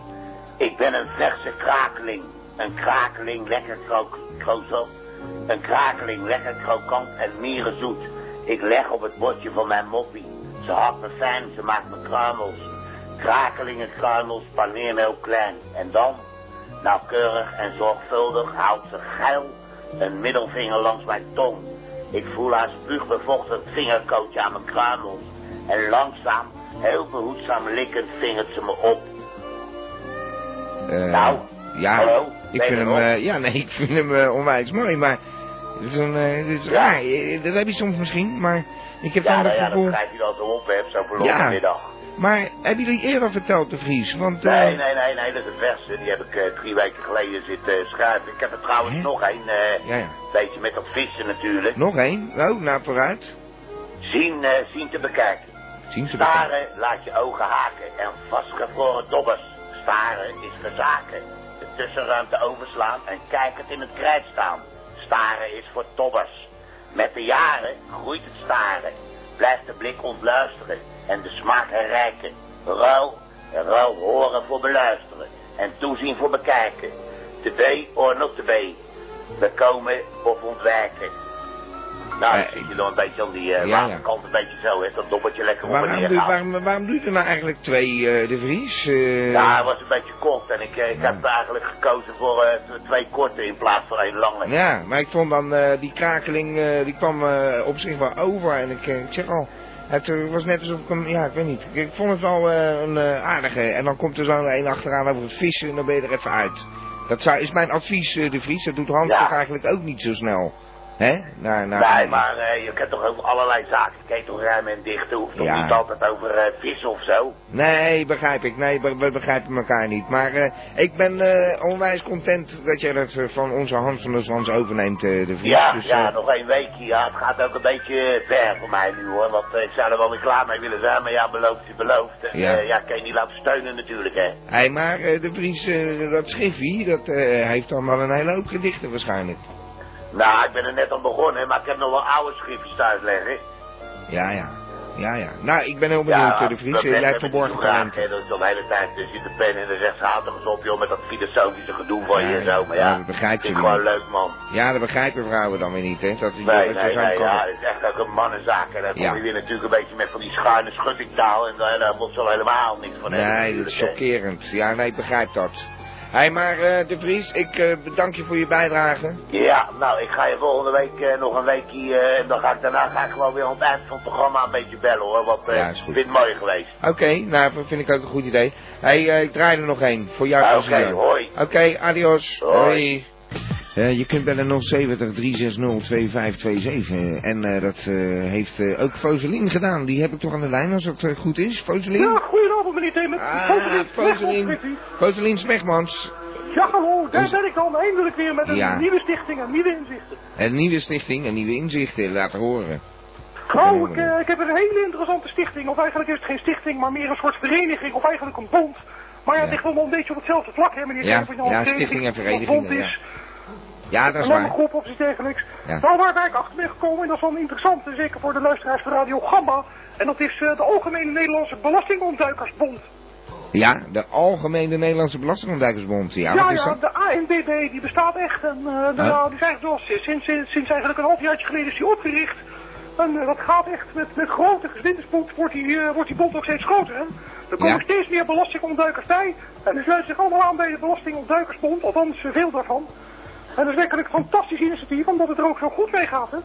Speaker 10: Ik ben een verse krakeling. Een krakeling, lekker kro krozel. Een krakeling, lekker krokant en mierenzoet. Ik leg op het bordje van mijn moppie. Ze hakt me fijn, ze maakt me kruimels. Krakelingen, kruimels, paneermeel klein. En dan? Nauwkeurig en zorgvuldig houdt ze geil een middelvinger langs mijn tong. Ik voel haar spuugbevochtigd vingerkootje aan mijn kruimels. En langzaam, heel behoedzaam likkend vingert ze me op.
Speaker 2: Eh,
Speaker 10: Nou,
Speaker 2: ja,
Speaker 10: hallo,
Speaker 2: ik
Speaker 10: ben
Speaker 2: vind
Speaker 10: je
Speaker 2: hem,
Speaker 10: er nog?
Speaker 2: eh, ja, nee, ik vind hem eh, onwijs mooi, maar dit is, een, eh, dit is raar. Eh, Dat heb je soms misschien, maar ik heb
Speaker 10: ja,
Speaker 2: dan
Speaker 10: nou
Speaker 2: het
Speaker 10: ja, dat
Speaker 2: gevoel.
Speaker 10: krijg je dan zo op, hè, op zo'n verloren
Speaker 2: Ja.
Speaker 10: middag.
Speaker 2: Maar hebben jullie eerder verteld, de Vries? Want, eh,
Speaker 10: Nee, nee, nee, nee, dat is het verste. Die heb ik eh, drie weken geleden zitten schrijven. Ik heb er trouwens nog één, eh
Speaker 2: Ja, ja.
Speaker 10: beetje met dat vissen natuurlijk.
Speaker 2: Nog één? Oh, nou, vooruit.
Speaker 10: Zien, eh, zien te bekijken.
Speaker 2: Zien ze bekijken.
Speaker 10: Staren laat je ogen haken en vastgevroren dobbers. Staren is verzaken. De tussenruimte overslaan en kijkend in het krijt staan. Staren is voor tobbers. Met de jaren groeit het staren. Blijft de blik ontluisteren en de smaak herrijken. Ruil, ruil horen voor beluisteren en toezien voor bekijken. To be or not to be. Bekomen of ontwijken. Nou, dan zit je dan een beetje aan die eh
Speaker 2: Eh, ja,
Speaker 10: lage
Speaker 2: ja.
Speaker 10: kant, een beetje zo, hè, dat dobbertje lekker op en
Speaker 2: Waarom,
Speaker 10: neer
Speaker 2: doe,
Speaker 10: gaat.
Speaker 2: waarom, waarom doet er nou eigenlijk twee, eh, de Vries? Eh,
Speaker 10: Ja, het was een beetje kort en ik, eh, ik heb eigenlijk gekozen voor eh, t- twee korte in plaats van één lange.
Speaker 2: Ja, maar ik vond dan eh, die krakeling, eh, die kwam eh, op zich wel over. En ik, eh, ik zeg al, het eh, was net alsof ik hem, ja, ik weet niet. Ik, ik vond het wel eh, een eh, aardige. En dan komt er zo een achteraan over het vissen en dan ben je er even uit. Dat zou, is mijn advies, eh, de Vries. Dat doet Hans
Speaker 10: Ja.
Speaker 2: toch eigenlijk ook niet zo snel. Hè? Naar, naar,
Speaker 10: nee, maar eh, je kent toch over allerlei zaken. Je kijkt toch ruim en dicht. Het hoeft toch
Speaker 2: Ja.
Speaker 10: niet altijd over eh vissen of zo.
Speaker 2: Nee, begrijp ik. Nee, we, we begrijpen elkaar niet. Maar eh, ik ben eh, onwijs content dat jij dat eh, van onze Hans van der Zwans overneemt, eh, de Vries.
Speaker 10: Ja,
Speaker 2: Dus,
Speaker 10: ja,
Speaker 2: eh,
Speaker 10: nog één weekje. Ja, het gaat ook een beetje eh, ver voor mij nu hoor. Want eh, ik zou er wel weer klaar mee willen zijn. Maar ja, beloofd is beloofd. En,
Speaker 2: Ja.
Speaker 10: eh, ja, kan je niet laten steunen natuurlijk hè.
Speaker 2: Hé, maar eh, de Vries, eh, dat Schiffie, dat eh, heeft dan wel een hele hoop gedichten waarschijnlijk.
Speaker 10: Nou, ik ben er net aan begonnen. Maar ik heb nog wel oude schriftjes thuis liggen.
Speaker 2: Ja, ja. Ja, ja. Nou, ik ben heel benieuwd, eh, de Vries.
Speaker 10: dat
Speaker 2: Eh, Jij
Speaker 10: net
Speaker 2: hebt
Speaker 10: heb ik
Speaker 2: verborgen
Speaker 10: niet gevraagd,
Speaker 2: talenten.
Speaker 10: hè. Dat is dan de hele tijd, er zit de pen in de rechtshandige op, joh, met dat filosofische gedoe van
Speaker 2: Ja,
Speaker 10: eh, je en
Speaker 2: ja.
Speaker 10: zo. Maar
Speaker 2: Ja,
Speaker 10: ja,
Speaker 2: dat begrijp je
Speaker 10: vind ik gewoon
Speaker 2: niet.
Speaker 10: leuk, man.
Speaker 2: Ja, dat begrijpen vrouwen dan weer niet, hè. Dat, die
Speaker 10: Nee,
Speaker 2: dat
Speaker 10: nee,
Speaker 2: je zo'n
Speaker 10: nee,
Speaker 2: kan-
Speaker 10: ja, het is echt ook een mannenzaak. En dan
Speaker 2: Ja.
Speaker 10: kom je weer natuurlijk een beetje met van die schuine schuttingtaal en eh, daar daar wordt ze al helemaal niks van hebben
Speaker 2: Nee, dat is
Speaker 10: natuurlijk, hè.
Speaker 2: chockerend. Ja, nee, ik begrijp dat. Hé, maar eh, de Vries, ik eh, bedank je voor je bijdrage.
Speaker 10: Ja, nou, ik ga je volgende week eh, nog een weekje, eh, en dan ga ik, daarna ga ik gewoon weer aan het eind van het programma een beetje bellen, hoor. Want eh,
Speaker 2: Ja,
Speaker 10: ik
Speaker 2: is goed.
Speaker 10: vind het mooi geweest.
Speaker 2: Oké, nou, dat vind ik ook een goed idee. Hé, eh, ik draai er nog één, voor jou
Speaker 10: Ah, oké,
Speaker 2: plezier.
Speaker 10: hoi.
Speaker 2: Oké, adios.
Speaker 10: Hoi.
Speaker 2: Eh, je kunt bellen 070 360 2527. En eh, dat eh, heeft eh, ook Foselien gedaan. Die heb ik toch aan de lijn als het eh, goed is. Foselien?
Speaker 11: Ja, goedenavond meneer Demet.
Speaker 2: Ah, Foselien. Foselien Smegmans.
Speaker 11: Ja, hallo, daar
Speaker 2: Ons-
Speaker 11: ben ik dan eindelijk weer met een
Speaker 2: Ja.
Speaker 11: nieuwe stichting en nieuwe inzichten.
Speaker 2: Een nieuwe stichting en nieuwe inzichten laten horen.
Speaker 11: Nou, ik, eh, ik heb een hele interessante stichting, of eigenlijk is het geen stichting, maar meer een soort vereniging, of eigenlijk een bond. Maar ja, het ligt allemaal een beetje op hetzelfde vlak, hè meneer
Speaker 2: Ja,
Speaker 11: Demet, want
Speaker 2: ja,
Speaker 11: nou een
Speaker 2: stichting en
Speaker 11: Een
Speaker 2: vereniging.
Speaker 11: bond
Speaker 2: Ja.
Speaker 11: is,
Speaker 2: ja, dat is
Speaker 11: een lange
Speaker 2: waar.
Speaker 11: groep of iets dergelijks.
Speaker 2: Ja.
Speaker 11: Nou, waar ben ik achter ben gekomen, en dat is wel interessant, en zeker voor de luisteraars van Radio Gamba, en dat is eh, de Algemene Nederlandse Belastingontduikersbond.
Speaker 2: Ja, de Algemene Nederlandse Belastingontduikersbond. Ja,
Speaker 11: ja,
Speaker 2: wat is
Speaker 11: ja,
Speaker 2: dat?
Speaker 11: de ANBB die bestaat echt. En eh, de-
Speaker 2: Huh?
Speaker 11: nou, die is eigenlijk wel sinds, sinds, sinds eigenlijk een halfjaartje geleden is die opgericht. En eh, dat gaat echt met, met grote gezwindenspoed wordt die, eh, wordt die bond ook steeds groter. Hè? Er komen
Speaker 12: Ja.
Speaker 11: steeds meer belastingontduikers bij. En die sluiten zich allemaal aan bij de belastingontduikersbond, althans eh, veel daarvan. En dat is werkelijk een fantastisch initiatief, omdat het er ook zo goed mee gaat. Hè?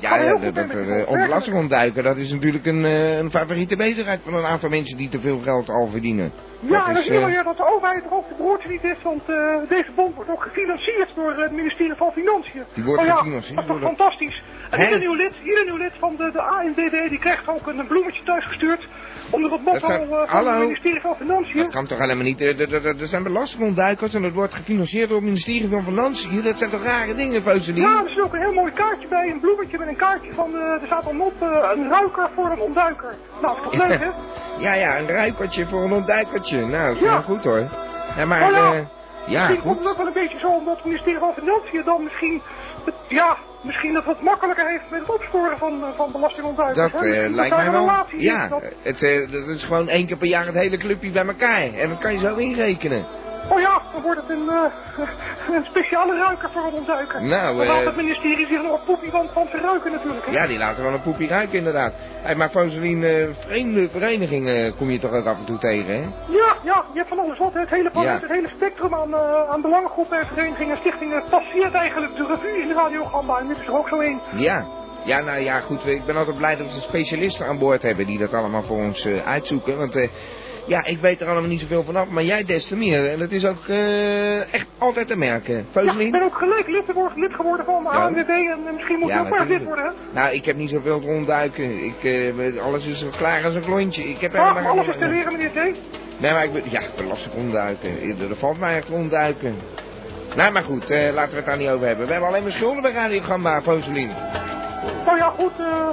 Speaker 2: Ja,
Speaker 11: Gaan we
Speaker 2: ja,
Speaker 11: heel
Speaker 2: dat,
Speaker 11: goed mee met die
Speaker 2: dat-
Speaker 11: bond,
Speaker 2: eh, om belasting ontduiken, dat is natuurlijk een, eh, een favoriete bezigheid van een aantal mensen die te veel geld al verdienen.
Speaker 11: Ja, en
Speaker 2: dat
Speaker 11: dan
Speaker 2: is,
Speaker 11: zie je wel
Speaker 2: eh,
Speaker 11: weer dat de overheid er ook de broertje niet is, want eh, deze bond wordt ook gefinancierd door eh, het ministerie van Financiën.
Speaker 2: Die wordt
Speaker 11: Oh ja,
Speaker 2: gefinancierd
Speaker 11: Dat is toch
Speaker 2: door de-
Speaker 11: fantastisch. En
Speaker 2: Hè?
Speaker 11: ieder nieuw lid, ieder nieuw lid van de, de ANDD die krijgt ook een bloemetje thuis gestuurd onder het motto
Speaker 2: zou-
Speaker 11: eh, van
Speaker 2: Hallo?
Speaker 11: het ministerie van Financiën.
Speaker 2: Dat kan toch helemaal niet. Eh, d- d- d- Er zijn belastingontduikers en dat wordt gefinancierd door het ministerie van Financiën. Dat zijn toch rare dingen, Foselien?
Speaker 11: Ja, er zit ook een heel mooi kaartje bij, een bloemetje met een kaartje van, eh, er staat dan op eh, een ruiker voor een ontduiker. Nou, dat is toch leuk hè?
Speaker 2: ja, ja, een ruikertje voor een ontduikertje. Nou, dat is
Speaker 11: Ja.
Speaker 2: wel goed hoor. Ja, maar,
Speaker 11: Oh ja.
Speaker 2: eh, ja,
Speaker 11: misschien komt
Speaker 2: goed.
Speaker 11: het ook wel een beetje zo omdat het ministerie van Financiën dan misschien, het- ja, misschien het wat makkelijker heeft met het opsporen van, eh, van belastingontduikers.
Speaker 2: Dat
Speaker 11: hè.
Speaker 2: eh,
Speaker 11: Misschien
Speaker 2: lijkt
Speaker 11: daar
Speaker 2: mij
Speaker 11: een
Speaker 2: wel.
Speaker 11: relatie
Speaker 2: Ja,
Speaker 11: is, dat-
Speaker 2: eh, het, eh, dat is gewoon één keer per jaar het hele clubje bij elkaar. En dat kan je zo inrekenen.
Speaker 11: Oh ja, dan wordt het een, eh, een speciale ruiker voor het ontduiken.
Speaker 2: Nou,
Speaker 11: dan
Speaker 2: eh,
Speaker 11: laat het ministerie zich nog een poepie van, van verruiken natuurlijk. Hè?
Speaker 2: Ja, die laten wel een poepie ruiken inderdaad. Hey, maar Foselien, eh, vreemde verenigingen eh, kom je toch ook af en toe tegen, hè?
Speaker 11: Ja, ja, je hebt van alles wat. hè. Het hele,
Speaker 2: Ja.
Speaker 11: het hele spectrum aan, eh, aan belangengroepen en verenigingen en stichtingen passeert eigenlijk de revue in Radio Gamba. En dit is er ook zo één.
Speaker 2: Ja. Ja, nou ja, goed. Ik ben altijd blij dat we specialisten aan boord hebben die dat allemaal voor ons eh, uitzoeken. Want eh, ja, ik weet er allemaal niet zoveel vanaf, maar jij des te meer. En dat is ook eh, echt altijd te merken.
Speaker 11: Ja, ik
Speaker 2: Foselien?
Speaker 11: ben ook gelijk lid, geworden- lid geworden van de
Speaker 2: Ja.
Speaker 11: ANWB en, en misschien moet je
Speaker 2: Ja,
Speaker 11: ook maar lid
Speaker 2: natuurlijk.
Speaker 11: worden. hè.
Speaker 2: Nou, ik heb niet zoveel te ontduiken. Ik, eh, alles is zo klaar als een klontje. Ik heb
Speaker 11: Ah,
Speaker 2: helemaal
Speaker 11: alles
Speaker 2: geen-
Speaker 11: is te leren, meneer T.
Speaker 2: Nee, maar ik ben, ja, ik ben lastig ontduiken. Er er valt mij echt ontduiken. Nou, maar goed, eh, laten we het daar niet over hebben. We hebben alleen maar schulden bij Radio Gamba, Foselien.
Speaker 11: Nou ja, goed, eh,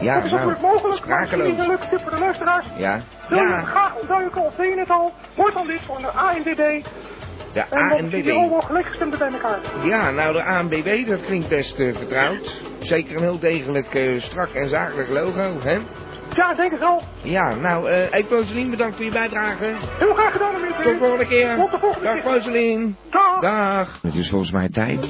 Speaker 2: Ja,
Speaker 11: dat is
Speaker 2: nou,
Speaker 11: natuurlijk mogelijk. Maar misschien
Speaker 2: sprakeloos.
Speaker 11: is een leuke tip voor de luisteraars.
Speaker 2: Ja.
Speaker 11: Wil je
Speaker 2: Ja,
Speaker 11: graag ontduiken of ben je het al? Word dan lid van de ANWB.
Speaker 2: de
Speaker 11: En dan zit je
Speaker 2: ANBB.
Speaker 11: allemaal gelijkgestemden bij elkaar.
Speaker 2: Ja, nou de ANBB, dat klinkt best eh, vertrouwd. Zeker een heel degelijk eh, strak en zakelijk logo, hè?
Speaker 11: Ja, denk het wel.
Speaker 2: Ja, nou, eh hey, Foselien, bedankt voor je bijdrage.
Speaker 11: Heel graag gedaan, meneer T.
Speaker 2: Tot de volgende keer.
Speaker 11: Tot de volgende
Speaker 2: Dag,
Speaker 11: keer.
Speaker 2: Foselien.
Speaker 11: Dag.
Speaker 2: Dag. Het is volgens mij tijd.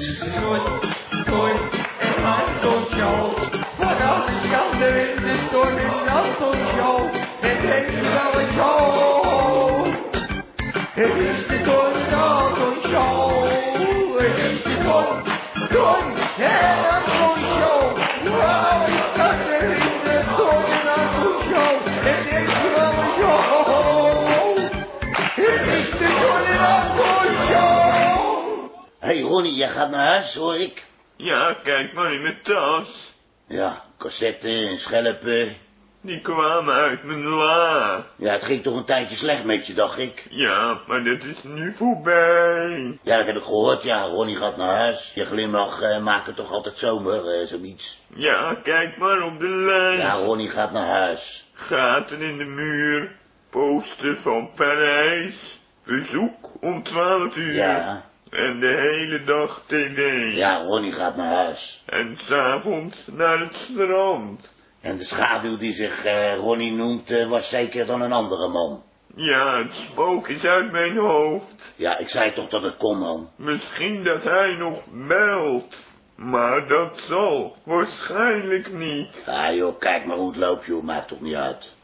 Speaker 10: Hé hey, Ronnie, jij gaat naar huis hoor ik.
Speaker 12: Ja, kijk maar in mijn tas.
Speaker 10: Ja, cassetten en schelpen.
Speaker 12: Die kwamen uit mijn la.
Speaker 10: Ja, het ging toch een tijdje slecht met je, dacht ik.
Speaker 12: Ja, maar dat is nu voorbij.
Speaker 10: Ja, dat heb ik gehoord, ja. Ronnie gaat naar huis. Je glimlach eh, maakt het toch altijd zomer, eh zoiets.
Speaker 12: Ja, kijk maar op de lijst.
Speaker 10: Ja, Ronnie gaat naar huis.
Speaker 12: Gaten in de muur. Poster van Parijs. Bezoek om 12 uur.
Speaker 10: Ja.
Speaker 12: En de hele dag tv.
Speaker 10: Ja, Ronnie gaat naar huis.
Speaker 12: En s'avonds naar het strand.
Speaker 10: En de schaduw die zich eh, Ronnie noemt, eh, was zeker dan een andere man.
Speaker 12: Ja, het spook is uit mijn hoofd.
Speaker 10: Ja, ik zei toch dat het kon, man.
Speaker 12: Misschien dat hij nog belt. Maar dat zal waarschijnlijk niet.
Speaker 10: Ah joh, kijk maar hoe het loopt, joh. Maakt toch niet uit.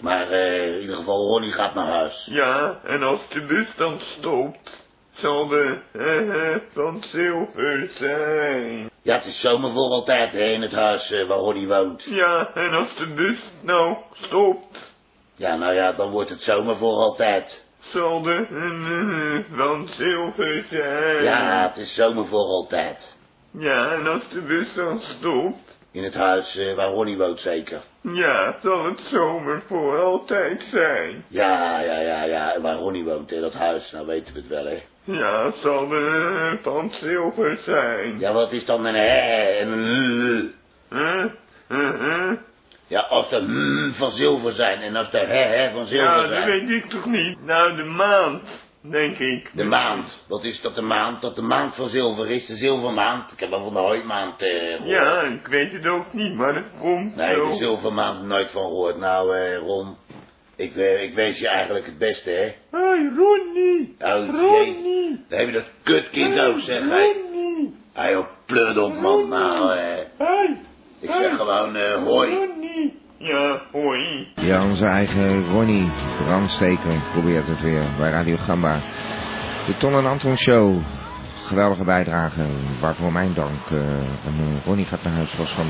Speaker 10: Maar eh, in ieder geval, Ronnie gaat naar huis.
Speaker 12: Ja, en als de bus dan stopt, zal de eh, van zilver zijn.
Speaker 10: Ja, het is zomer voor altijd, hè, in het huis eh, waar Ronnie woont.
Speaker 12: Ja, en als de bus nou stopt,
Speaker 10: Ja, nou ja, dan wordt het zomer voor altijd.
Speaker 12: zal de eh, eh, van zilver zijn.
Speaker 10: Ja, het is zomer voor altijd.
Speaker 12: Ja, en als de bus dan stopt,
Speaker 10: In het huis eh, waar Ronnie woont zeker.
Speaker 12: ja, zal het zomer voor altijd zijn.
Speaker 10: Ja, ja, ja, ja, waar Ronnie woont, in dat huis, nou weten we het wel, hè.
Speaker 12: Ja, zal de eh, van zilver zijn.
Speaker 10: Ja, wat is dan een hè en een
Speaker 12: Eh, eh, eh.
Speaker 10: Ja, als de mm van zilver zijn en als de hè hè van zilver
Speaker 13: Nou,
Speaker 12: Ja, dat
Speaker 10: zijn.
Speaker 12: weet ik toch niet. Nou, de maand, denk ik.
Speaker 10: De maand, wat is dat de maand? Dat de maand van zilver is, de zilvermaand. Ik heb al van de hooimaand eh, gehoord.
Speaker 12: Ja, ik weet het ook niet, maar dat komt
Speaker 10: Nee,
Speaker 12: zo.
Speaker 10: de zilvermaand nooit van gehoord. Nou, eh, Ron, ik, eh, ik wens je eigenlijk het beste, hè.
Speaker 12: Hey, Ronnie!
Speaker 10: Oh,
Speaker 12: Ronnie!
Speaker 10: Dan heb je dat kutkind ook, zeg hij.
Speaker 12: Ronnie!
Speaker 10: Hij op pleurt op, man. Nou, eh,
Speaker 12: Hey!
Speaker 10: ik zeg gewoon eh, hoi.
Speaker 12: Ronnie! Ja, hoi.
Speaker 2: Ja, onze eigen Ronnie Brandsteker probeert het weer bij Radio Gamba. De Ton en Anton Show. Geweldige bijdrage, waarvoor mijn dank. eh, en, eh, Ronnie gaat naar huis, was van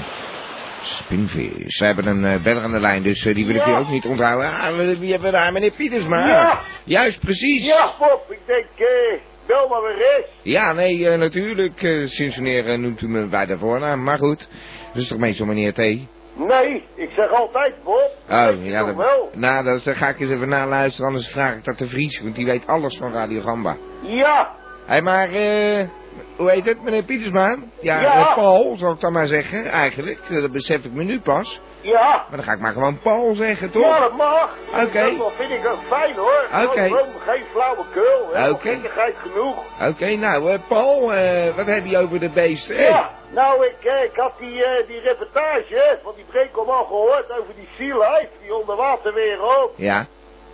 Speaker 2: Spinvis. Ze hebben een eh, beller aan de lijn, dus eh, die wil ik
Speaker 13: Ja.
Speaker 2: hier ook niet onthouden. Ah, we- wie hebben we daar? Meneer Pietersma.
Speaker 13: Ja.
Speaker 2: Juist, precies.
Speaker 13: Ja, Pop, ik denk, eh, bel maar weer eens.
Speaker 2: Ja, nee, eh, natuurlijk. eh, sinds wanneer eh, noemt u me bij de voornaam? Maar goed, dat is toch meestal meneer T?
Speaker 13: Nee, ik zeg altijd, Pop.
Speaker 2: Oh, ja,
Speaker 13: toch
Speaker 2: dat,
Speaker 13: wel?
Speaker 2: nou, dat, dan ga ik eens even naluisteren, anders vraag ik dat de Vries, want die weet alles van Radio Gamba.
Speaker 13: Ja,
Speaker 2: Hé, maar, eh, hoe heet het, meneer Pietersma? Ja,
Speaker 13: Ja.
Speaker 2: eh, Paul, zal ik dan maar zeggen, eigenlijk. Eh, Dat besef ik me nu pas.
Speaker 13: ja.
Speaker 2: Maar dan ga ik maar gewoon Paul zeggen, toch?
Speaker 13: Ja, dat mag.
Speaker 2: Oké.
Speaker 13: Dat vind ik ook fijn, hoor.
Speaker 2: Oké.
Speaker 13: Gewoon Geen flauwekul. hè.
Speaker 2: Oké.
Speaker 13: Gekkigheid genoeg.
Speaker 2: Oké, nou, eh, Paul, eh, wat heb je over de beesten? Hé,
Speaker 13: Ja, nou, ik, eh, ik had die, eh, die reportage hè, van die Brekom al gehoord over die sea life, die onderwaterwereld.
Speaker 2: Ja,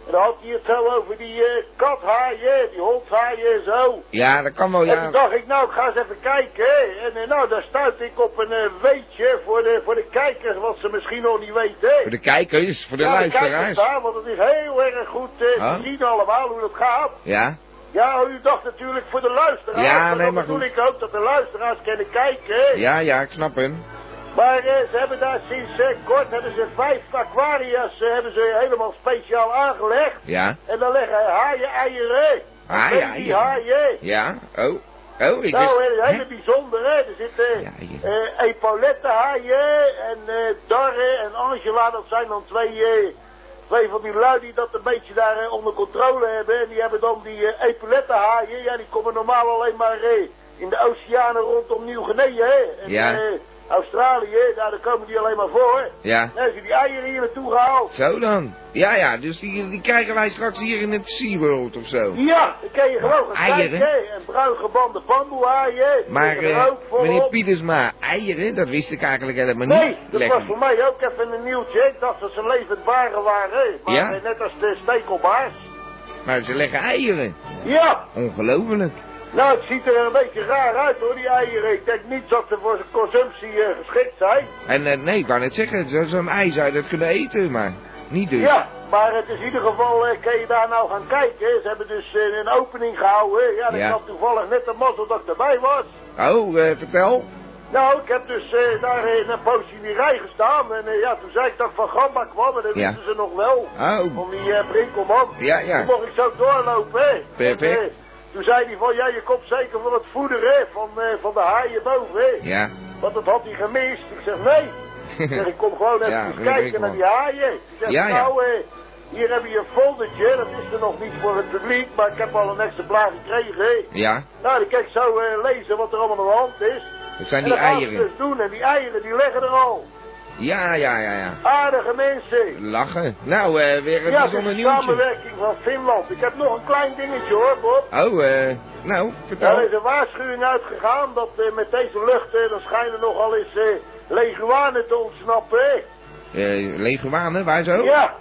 Speaker 13: En dan had hij het zo over die eh kathaaien, die hondhaaien en zo.
Speaker 2: Ja, dat kan wel,
Speaker 13: En toen
Speaker 2: Oh, ja.
Speaker 13: dacht ik, nou, ik ga eens even kijken. En eh, nou, daar stuit ik op een eh, weetje voor de, voor de kijkers, wat ze misschien nog niet weten.
Speaker 2: Voor de kijkers, voor de
Speaker 13: ja,
Speaker 2: luisteraars.
Speaker 13: kijkers daar, want het is heel erg goed eh,
Speaker 2: Huh?
Speaker 13: te zien allemaal hoe dat gaat.
Speaker 2: Ja?
Speaker 13: Ja, u dacht natuurlijk voor de luisteraars.
Speaker 2: Ja,
Speaker 13: en
Speaker 2: nee,
Speaker 13: dan
Speaker 2: maar
Speaker 13: bedoel
Speaker 2: goed.
Speaker 13: ik ook dat de luisteraars kunnen kijken.
Speaker 2: Ja, ja, ik snap hem.
Speaker 13: Maar eh, ze hebben daar sinds eh, kort hebben ze vijf aquaria's eh, hebben ze helemaal speciaal aangelegd.
Speaker 2: Ja?
Speaker 13: En dan leggen haaien eieren.
Speaker 2: Haaien,
Speaker 13: Die
Speaker 2: eieren.
Speaker 13: haaien.
Speaker 2: Ja? Oh. Oh, ik
Speaker 13: nou,
Speaker 2: wist...
Speaker 13: eh, hele bijzondere. Er zitten eh eh, epaulettenhaaien en eh, Darre en Angela. Dat zijn dan twee, eh, twee van die lui die dat een beetje daar eh, onder controle hebben. En die hebben dan die eh epaulettenhaaien. Ja, die komen normaal alleen maar eh, in de oceanen rondom Nieuw-Guinea. hè. En,
Speaker 2: Ja.
Speaker 13: eh, Australië, daar, daar komen die alleen maar voor.
Speaker 2: Ja.
Speaker 13: Dan hebben ze die eieren hier naartoe gehaald.
Speaker 2: Zo dan. Ja, ja, dus die, die krijgen wij straks hier in het SeaWorld of zo.
Speaker 13: Ja, dan kan je gewoon gaan
Speaker 2: Eieren?
Speaker 13: kijken. hè. En bruin gebande bamboehaaien. die
Speaker 2: Maar,
Speaker 13: liggen er
Speaker 2: eh,
Speaker 13: ook volop.
Speaker 2: meneer Pietersma, eieren, dat wist ik eigenlijk helemaal
Speaker 13: Nee,
Speaker 2: niet.
Speaker 13: dat
Speaker 2: Lekker.
Speaker 13: was voor mij ook even een nieuwtje. Ik dacht dat ze levendbaren waren. Maar
Speaker 2: Ja?
Speaker 13: eh, net als de stekelbaars.
Speaker 2: Maar ze leggen eieren.
Speaker 13: Ja,
Speaker 2: Ongelooflijk.
Speaker 13: nou het ziet er een beetje raar uit hoor, die eieren. Ik denk niet dat ze voor zijn consumptie eh, geschikt zijn.
Speaker 2: En eh, nee, ik wou net zeggen, zo- zo'n ei zou je dat kunnen eten, maar niet dus.
Speaker 13: Ja, maar het is in ieder geval, eh, kan je daar nou gaan kijken. Ze hebben dus eh, een opening gehouden. Ja, dat
Speaker 2: Ja.
Speaker 13: had nou toevallig net de mazzel dat ik erbij was.
Speaker 2: Oh, eh, vertel.
Speaker 13: Nou, ik heb dus eh, daar in een poosje in die rij gestaan. En eh, ja, toen zei ik dat ik van Gamba kwam. En dat
Speaker 2: Ja.
Speaker 13: wisten ze nog wel.
Speaker 2: Oh.
Speaker 13: Van die eh Brinkelman.
Speaker 2: Ja, ja.
Speaker 13: Toen mocht ik zo doorlopen, hè.
Speaker 2: Perfect.
Speaker 13: En, eh, toen zei hij van, ja, je komt zeker van het voeder, hè. Van, eh, van de haaien boven, hè.
Speaker 2: Ja.
Speaker 13: Want dat had hij gemist. Ik zeg, nee. Ik zeg, ik kom gewoon even
Speaker 2: Ja,
Speaker 13: eens
Speaker 2: meneer
Speaker 13: kijken naar
Speaker 2: Brinkelman.
Speaker 13: die haaien. Ik zeg,
Speaker 2: Ja, ja.
Speaker 13: nou, eh, hier heb je een foldertje. Dat is er nog niet voor het publiek. Maar ik heb al een exemplaar gekregen, hè.
Speaker 2: Ja,
Speaker 13: Nou, dan kan ik zo eh, lezen wat er allemaal aan de hand is.
Speaker 2: dat zijn
Speaker 13: en
Speaker 2: die
Speaker 13: dat gaan ze
Speaker 2: eieren.
Speaker 13: dus doen. En die eieren, die leggen er al.
Speaker 2: Ja, ja, ja, ja.
Speaker 13: Aardige mensen.
Speaker 2: Lachen. Nou, eh, weer een
Speaker 13: ja, dit
Speaker 2: bijzonder
Speaker 13: is
Speaker 2: nieuwtje.
Speaker 13: samenwerking van Finland. Ik heb nog een klein dingetje hoor, Bob.
Speaker 2: Oh, eh, nou,
Speaker 13: Ja, Er is
Speaker 2: vertel.
Speaker 13: een waarschuwing uitgegaan dat eh, met deze lucht eh, dan schijnen nogal eens eh, leguanen te ontsnappen. hè.
Speaker 2: Eh leguanen, waar zo?
Speaker 13: Ja.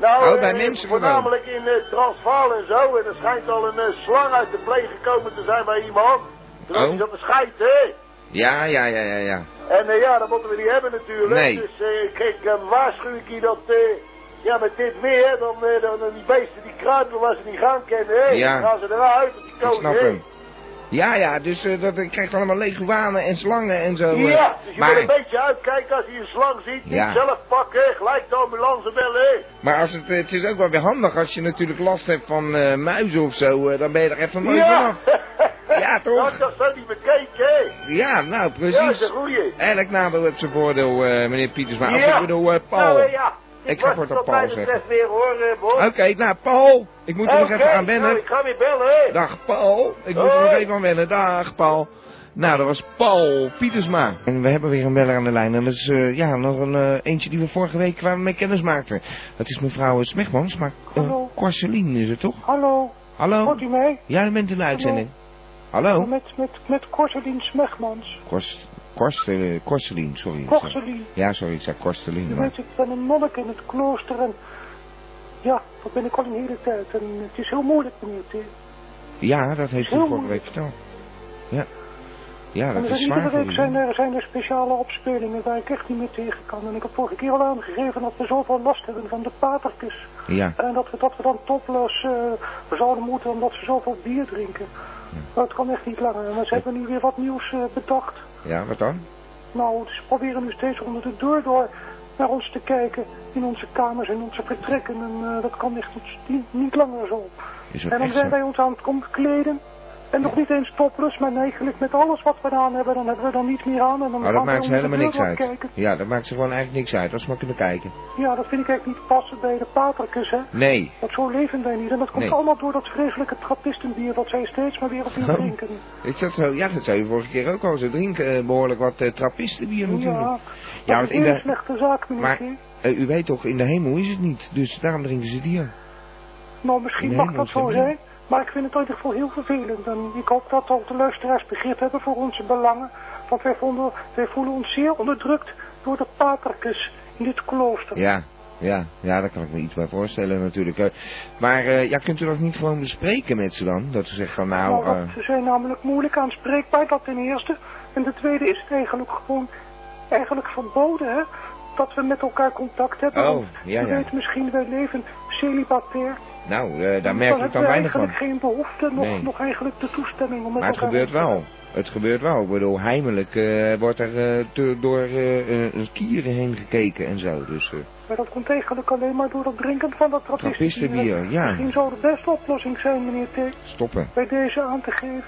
Speaker 13: Nou,
Speaker 2: Oh,
Speaker 13: eh,
Speaker 2: bij mensen gewoon.
Speaker 13: voornamelijk in eh, Transvaal en zo. En er schijnt al een eh, slang uit de pleeg gekomen te zijn bij iemand. Dus Terwijl hij
Speaker 2: Oh.
Speaker 13: zat te schijten, hè.
Speaker 2: Ja, ja, ja, ja, ja.
Speaker 13: En eh, ja, dat moeten we niet hebben natuurlijk.
Speaker 2: Nee.
Speaker 13: Dus eh, ik- ik eh, waarschuw ik je dat eh, ja, met dit weer, dan, eh, dan, dan die beesten die kruipen waar ze niet gaan kennen, hè,
Speaker 2: Ja.
Speaker 13: dan gaan ze eruit. want Die
Speaker 2: Ik
Speaker 13: komen,
Speaker 2: snap
Speaker 13: hè.
Speaker 2: hem. Ja, ja, dus eh, dat, ik krijg allemaal leguanen en slangen en zo. eh.
Speaker 13: Ja, dus je moet
Speaker 2: maar,
Speaker 13: een beetje uitkijken als je een slang ziet.
Speaker 2: Ja.
Speaker 13: Niet zelf pakken, gelijk de ambulance bellen. hè.
Speaker 2: maar als het, eh, het is ook wel weer handig als je natuurlijk last hebt van eh, muizen of zo, eh, dan ben je er even mooi
Speaker 13: Ja!
Speaker 2: vanaf. Ja, toch?
Speaker 13: Dat dat zo niet bekeken, hè.
Speaker 2: Ja, nou
Speaker 13: Ja, dat is
Speaker 2: precies.
Speaker 13: een goeie.
Speaker 2: Elk nadeel heeft zijn voordeel, eh, meneer Pieters. Maar
Speaker 13: Ja.
Speaker 2: ik bedoel, eh, Paul.
Speaker 13: Nou, eh, ja. Dit
Speaker 2: Ik ga
Speaker 13: was
Speaker 2: voor
Speaker 13: het
Speaker 2: dat
Speaker 13: wat
Speaker 2: Paul
Speaker 13: mij betreft
Speaker 2: zeggen.
Speaker 13: weer hoor, eh, Bob.
Speaker 2: Oké, nou Paul, ik moet er nog even
Speaker 13: Oké,
Speaker 2: aan wennen.
Speaker 13: nou, ik ga weer bellen, hè.
Speaker 2: Dag Paul, ik moet er nog
Speaker 13: Hoi.
Speaker 2: even aan wennen. Dag Paul. Nou, dat was Paul Pietersma. En we hebben weer een beller aan de lijn. En dat is eh, ja, nog een eh, eentje die we vorige week waar we mee kennis maakten. Dat is mevrouw eh, Smegmans, maar uh,
Speaker 11: Hallo.
Speaker 2: is het toch?
Speaker 11: Hallo.
Speaker 2: Hallo?
Speaker 11: Hoort u mij?
Speaker 2: Ja, u bent in de uitzending. Hallo?
Speaker 11: Met, met, met Korselien Smegmans.
Speaker 2: Korst, korst, eh, Korselien, sorry.
Speaker 11: Korselien.
Speaker 2: Ja, sorry, ik zei Korselien.
Speaker 11: U
Speaker 2: maar-
Speaker 11: weet, ik ben een monnik in het klooster en... Ja, dat ben ik al een hele tijd. En het is heel moeilijk, meneer. Het is-
Speaker 2: Ja, dat heeft u
Speaker 11: Heel
Speaker 2: vorige week verteld. Ja. Ja,
Speaker 11: en
Speaker 2: dat
Speaker 11: er
Speaker 2: is
Speaker 11: zijn iedere
Speaker 2: zwaar voor
Speaker 11: week
Speaker 2: u,
Speaker 11: zijn
Speaker 2: hè?
Speaker 11: er, zijn er speciale opspelingen waar ik echt niet meer tegen kan. En ik heb vorige keer al aangegeven dat we zoveel last hebben van de patertjes.
Speaker 2: Ja.
Speaker 11: En dat we, dat we dan toplos eh, zouden moeten omdat ze zoveel bier drinken. Dat kan echt niet langer. Maar ze hebben nu weer wat nieuws eh, bedacht.
Speaker 2: Ja, wat dan?
Speaker 11: Nou, ze proberen nu steeds onder de deur door naar ons te kijken. In onze kamers, in onze vertrekken. En eh, dat kan echt niet, niet, niet langer zo.
Speaker 2: Is dat
Speaker 11: En dan
Speaker 2: echt
Speaker 11: zijn
Speaker 2: zo?
Speaker 11: wij ons aan het omkleden. En nog niet eens topless, maar eigenlijk met alles wat we aan hebben, dan hebben we er niet meer aan. En dan
Speaker 2: Oh, dat
Speaker 11: gaan wij
Speaker 2: maakt ze
Speaker 11: onder de
Speaker 2: helemaal niks
Speaker 11: deur
Speaker 2: uit.
Speaker 11: kijken.
Speaker 2: Ja, dat maakt ze gewoon eigenlijk niks uit, als we maar kunnen kijken.
Speaker 11: Ja, dat vind ik echt niet passen bij de paterkes, hè.
Speaker 2: Nee.
Speaker 11: Want zo leven wij niet. En Oh, dat komt
Speaker 2: Nee.
Speaker 11: allemaal door dat vreselijke trappistenbier dat zij steeds maar weer opnieuw
Speaker 2: Oh.
Speaker 11: drinken.
Speaker 2: Is dat zo? Ja, dat zei je vorige keer ook al. Ze drinken eh, behoorlijk wat eh, trappistenbier natuurlijk.
Speaker 11: Ja,
Speaker 2: Ja,
Speaker 11: dat
Speaker 2: want
Speaker 11: is
Speaker 2: in
Speaker 11: een hele
Speaker 2: de...
Speaker 11: slechte zaak, meneer.
Speaker 2: Maar
Speaker 11: Keer.
Speaker 2: eh, u weet toch, in de hemel is het niet. Dus daarom drinken ze het hier.
Speaker 11: Nou, misschien
Speaker 2: Nee,
Speaker 11: mag
Speaker 2: maar
Speaker 11: dat
Speaker 2: ik
Speaker 11: zo
Speaker 2: vind
Speaker 11: zijn. Maar ik vind het in ieder geval heel vervelend. En ik hoop dat ook de luisteraars begrip hebben voor onze belangen. Want wij, vonden, wij voelen ons zeer onderdrukt door de paterkes in dit klooster.
Speaker 2: Ja. Ja, ja, daar kan ik me iets bij voorstellen natuurlijk. Eh, Maar eh, ja, kunt u dat niet gewoon bespreken met ze dan? Dat u zegt van nou...
Speaker 11: Nou,
Speaker 2: eh,
Speaker 11: want ze zijn namelijk moeilijk aanspreekbaar, dat ten eerste. En ten tweede is het eigenlijk gewoon eigenlijk verboden, hè, dat we met elkaar contact hebben.
Speaker 2: Oh,
Speaker 11: want
Speaker 2: ja,
Speaker 11: je
Speaker 2: ja.
Speaker 11: weet misschien, wij leven celibatair.
Speaker 2: nou, eh, daar merk ik
Speaker 11: hebben
Speaker 2: dan
Speaker 11: we
Speaker 2: weinig van.
Speaker 11: eigenlijk geen behoefte, nog,
Speaker 2: Nee.
Speaker 11: nog eigenlijk de toestemming om met
Speaker 2: Maar het
Speaker 11: elkaar
Speaker 2: gebeurt
Speaker 11: te hebben.
Speaker 2: wel. Het gebeurt wel. Ik bedoel, heimelijk eh, wordt er eh, te- door eh, eh, een kieren heen gekeken en zo. Dus eh,
Speaker 11: Maar dat komt eigenlijk alleen maar door het drinken van dat
Speaker 2: Trappistenbier, ja.
Speaker 11: Misschien zou de beste oplossing zijn, meneer T,
Speaker 2: stoppen
Speaker 11: bij deze aan te geven.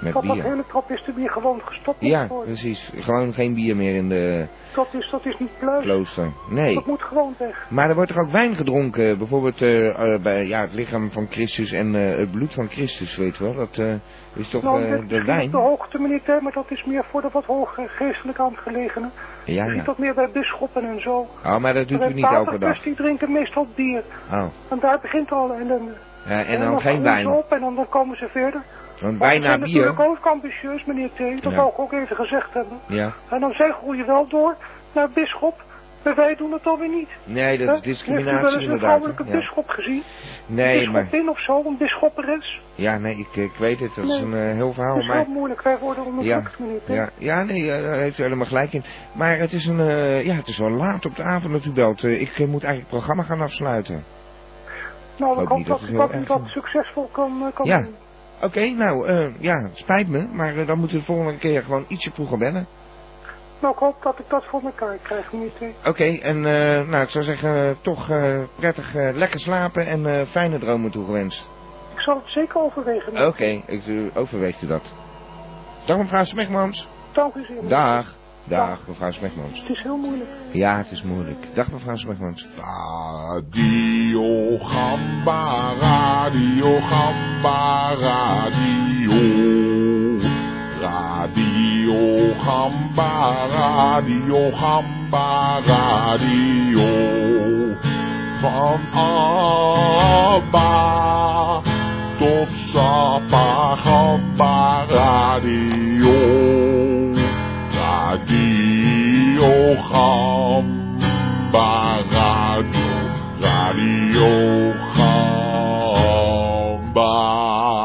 Speaker 2: met
Speaker 11: dat dat
Speaker 2: bier.
Speaker 11: hele trappistenbier gewoon gestopt moet
Speaker 2: Ja, dus-
Speaker 11: worden.
Speaker 2: precies. Gewoon geen bier meer in de
Speaker 11: Dat is, dat is niet pluis.
Speaker 2: klooster. Nee.
Speaker 11: Dat moet gewoon weg.
Speaker 2: Maar er wordt toch ook wijn gedronken? Bijvoorbeeld eh, eh, bij ja, het lichaam van Christus en eh, het bloed van Christus, weet je wel. Dat eh, is toch
Speaker 11: nou, dit
Speaker 2: eh,
Speaker 11: is
Speaker 2: de
Speaker 11: misschien op
Speaker 2: wijn?
Speaker 11: de hoogte, meneer T, maar dat is meer voor de wat hoger geestelijk aangelegenen.
Speaker 2: Ja,
Speaker 11: Je ziet
Speaker 2: ja.
Speaker 11: dat meer bij bisschoppen en zo.
Speaker 2: Oh, maar dat doet
Speaker 11: Bij
Speaker 2: u niet elke
Speaker 11: patertjes,
Speaker 2: dag.
Speaker 11: die drinken meestal bier.
Speaker 2: Oh.
Speaker 11: En daar begint al ellende.
Speaker 2: Eh, en
Speaker 11: En
Speaker 2: dan geen
Speaker 11: gaan ze
Speaker 2: wijn.
Speaker 11: op en dan, dan komen ze verder.
Speaker 2: Want
Speaker 11: Maar
Speaker 2: wijn
Speaker 11: ze zijn
Speaker 2: na
Speaker 11: natuurlijk
Speaker 2: bier.
Speaker 11: ook ambitieus, meneer T. Dat
Speaker 2: Ja.
Speaker 11: wou ik ook even gezegd hebben.
Speaker 2: Ja.
Speaker 11: En dan zij groeien wel door naar bisschop, maar wij doen het alweer niet.
Speaker 2: Nee, dat
Speaker 11: Hè? Heeft
Speaker 2: is
Speaker 11: u wel
Speaker 2: discriminatie
Speaker 11: eens een
Speaker 2: inderdaad.
Speaker 11: vrouwelijke
Speaker 2: hè. Ja.
Speaker 11: bisschop gezien?
Speaker 2: Nee, maar...
Speaker 11: Bisschopin of zo, een bisschopperes.
Speaker 2: Ja, nee, ik, ik weet het. Dat is
Speaker 11: Nee.
Speaker 2: een eh, heel
Speaker 11: Dat
Speaker 2: verhaal.
Speaker 11: is
Speaker 2: Maar...
Speaker 11: heel moeilijk, wij worden onderdrukt, meneer T.
Speaker 2: ja, ja, nee, eh, daar heeft u helemaal gelijk in. Maar het is, een, eh, ja, het is wel laat op de avond dat u belt. Eh, ik eh, moet eigenlijk het programma gaan afsluiten.
Speaker 11: nou,
Speaker 2: geloof
Speaker 11: ik hoop
Speaker 2: niet
Speaker 11: dat,
Speaker 2: Oh, dat
Speaker 11: u
Speaker 2: het heel
Speaker 11: dat, u
Speaker 2: erg
Speaker 11: dat
Speaker 2: is.
Speaker 11: succesvol kan, eh, kan
Speaker 2: Ja.
Speaker 11: doen.
Speaker 2: Oké, nou, eh, ja, spijt me. Maar eh, dan moeten we de volgende keer gewoon ietsje vroeger bellen.
Speaker 11: Nou, ik hoop dat ik dat voor elkaar krijg, meneer T.
Speaker 2: Oké, en eh, nou, ik zou zeggen, eh, toch eh, prettig eh, lekker slapen en eh, fijne dromen toegewenst.
Speaker 11: Ik zal het zeker overwegen.
Speaker 2: Oké, ik eh, overweegt u dat. Dag mevrouw Smegmans.
Speaker 11: Dank u zeer. meneer T.
Speaker 2: Dag. Dag mevrouw Smegmans.
Speaker 11: Het is heel moeilijk.
Speaker 2: Ja, het is moeilijk. Dag mevrouw Smegmans.
Speaker 14: Radio Gamba, Radio Gamba, Radio. Radio Gamba, Radio Gamba, Radio. Van Abba tot Sapa Gamba, Radio. Radio Gamba, Radio. Radio Gamba.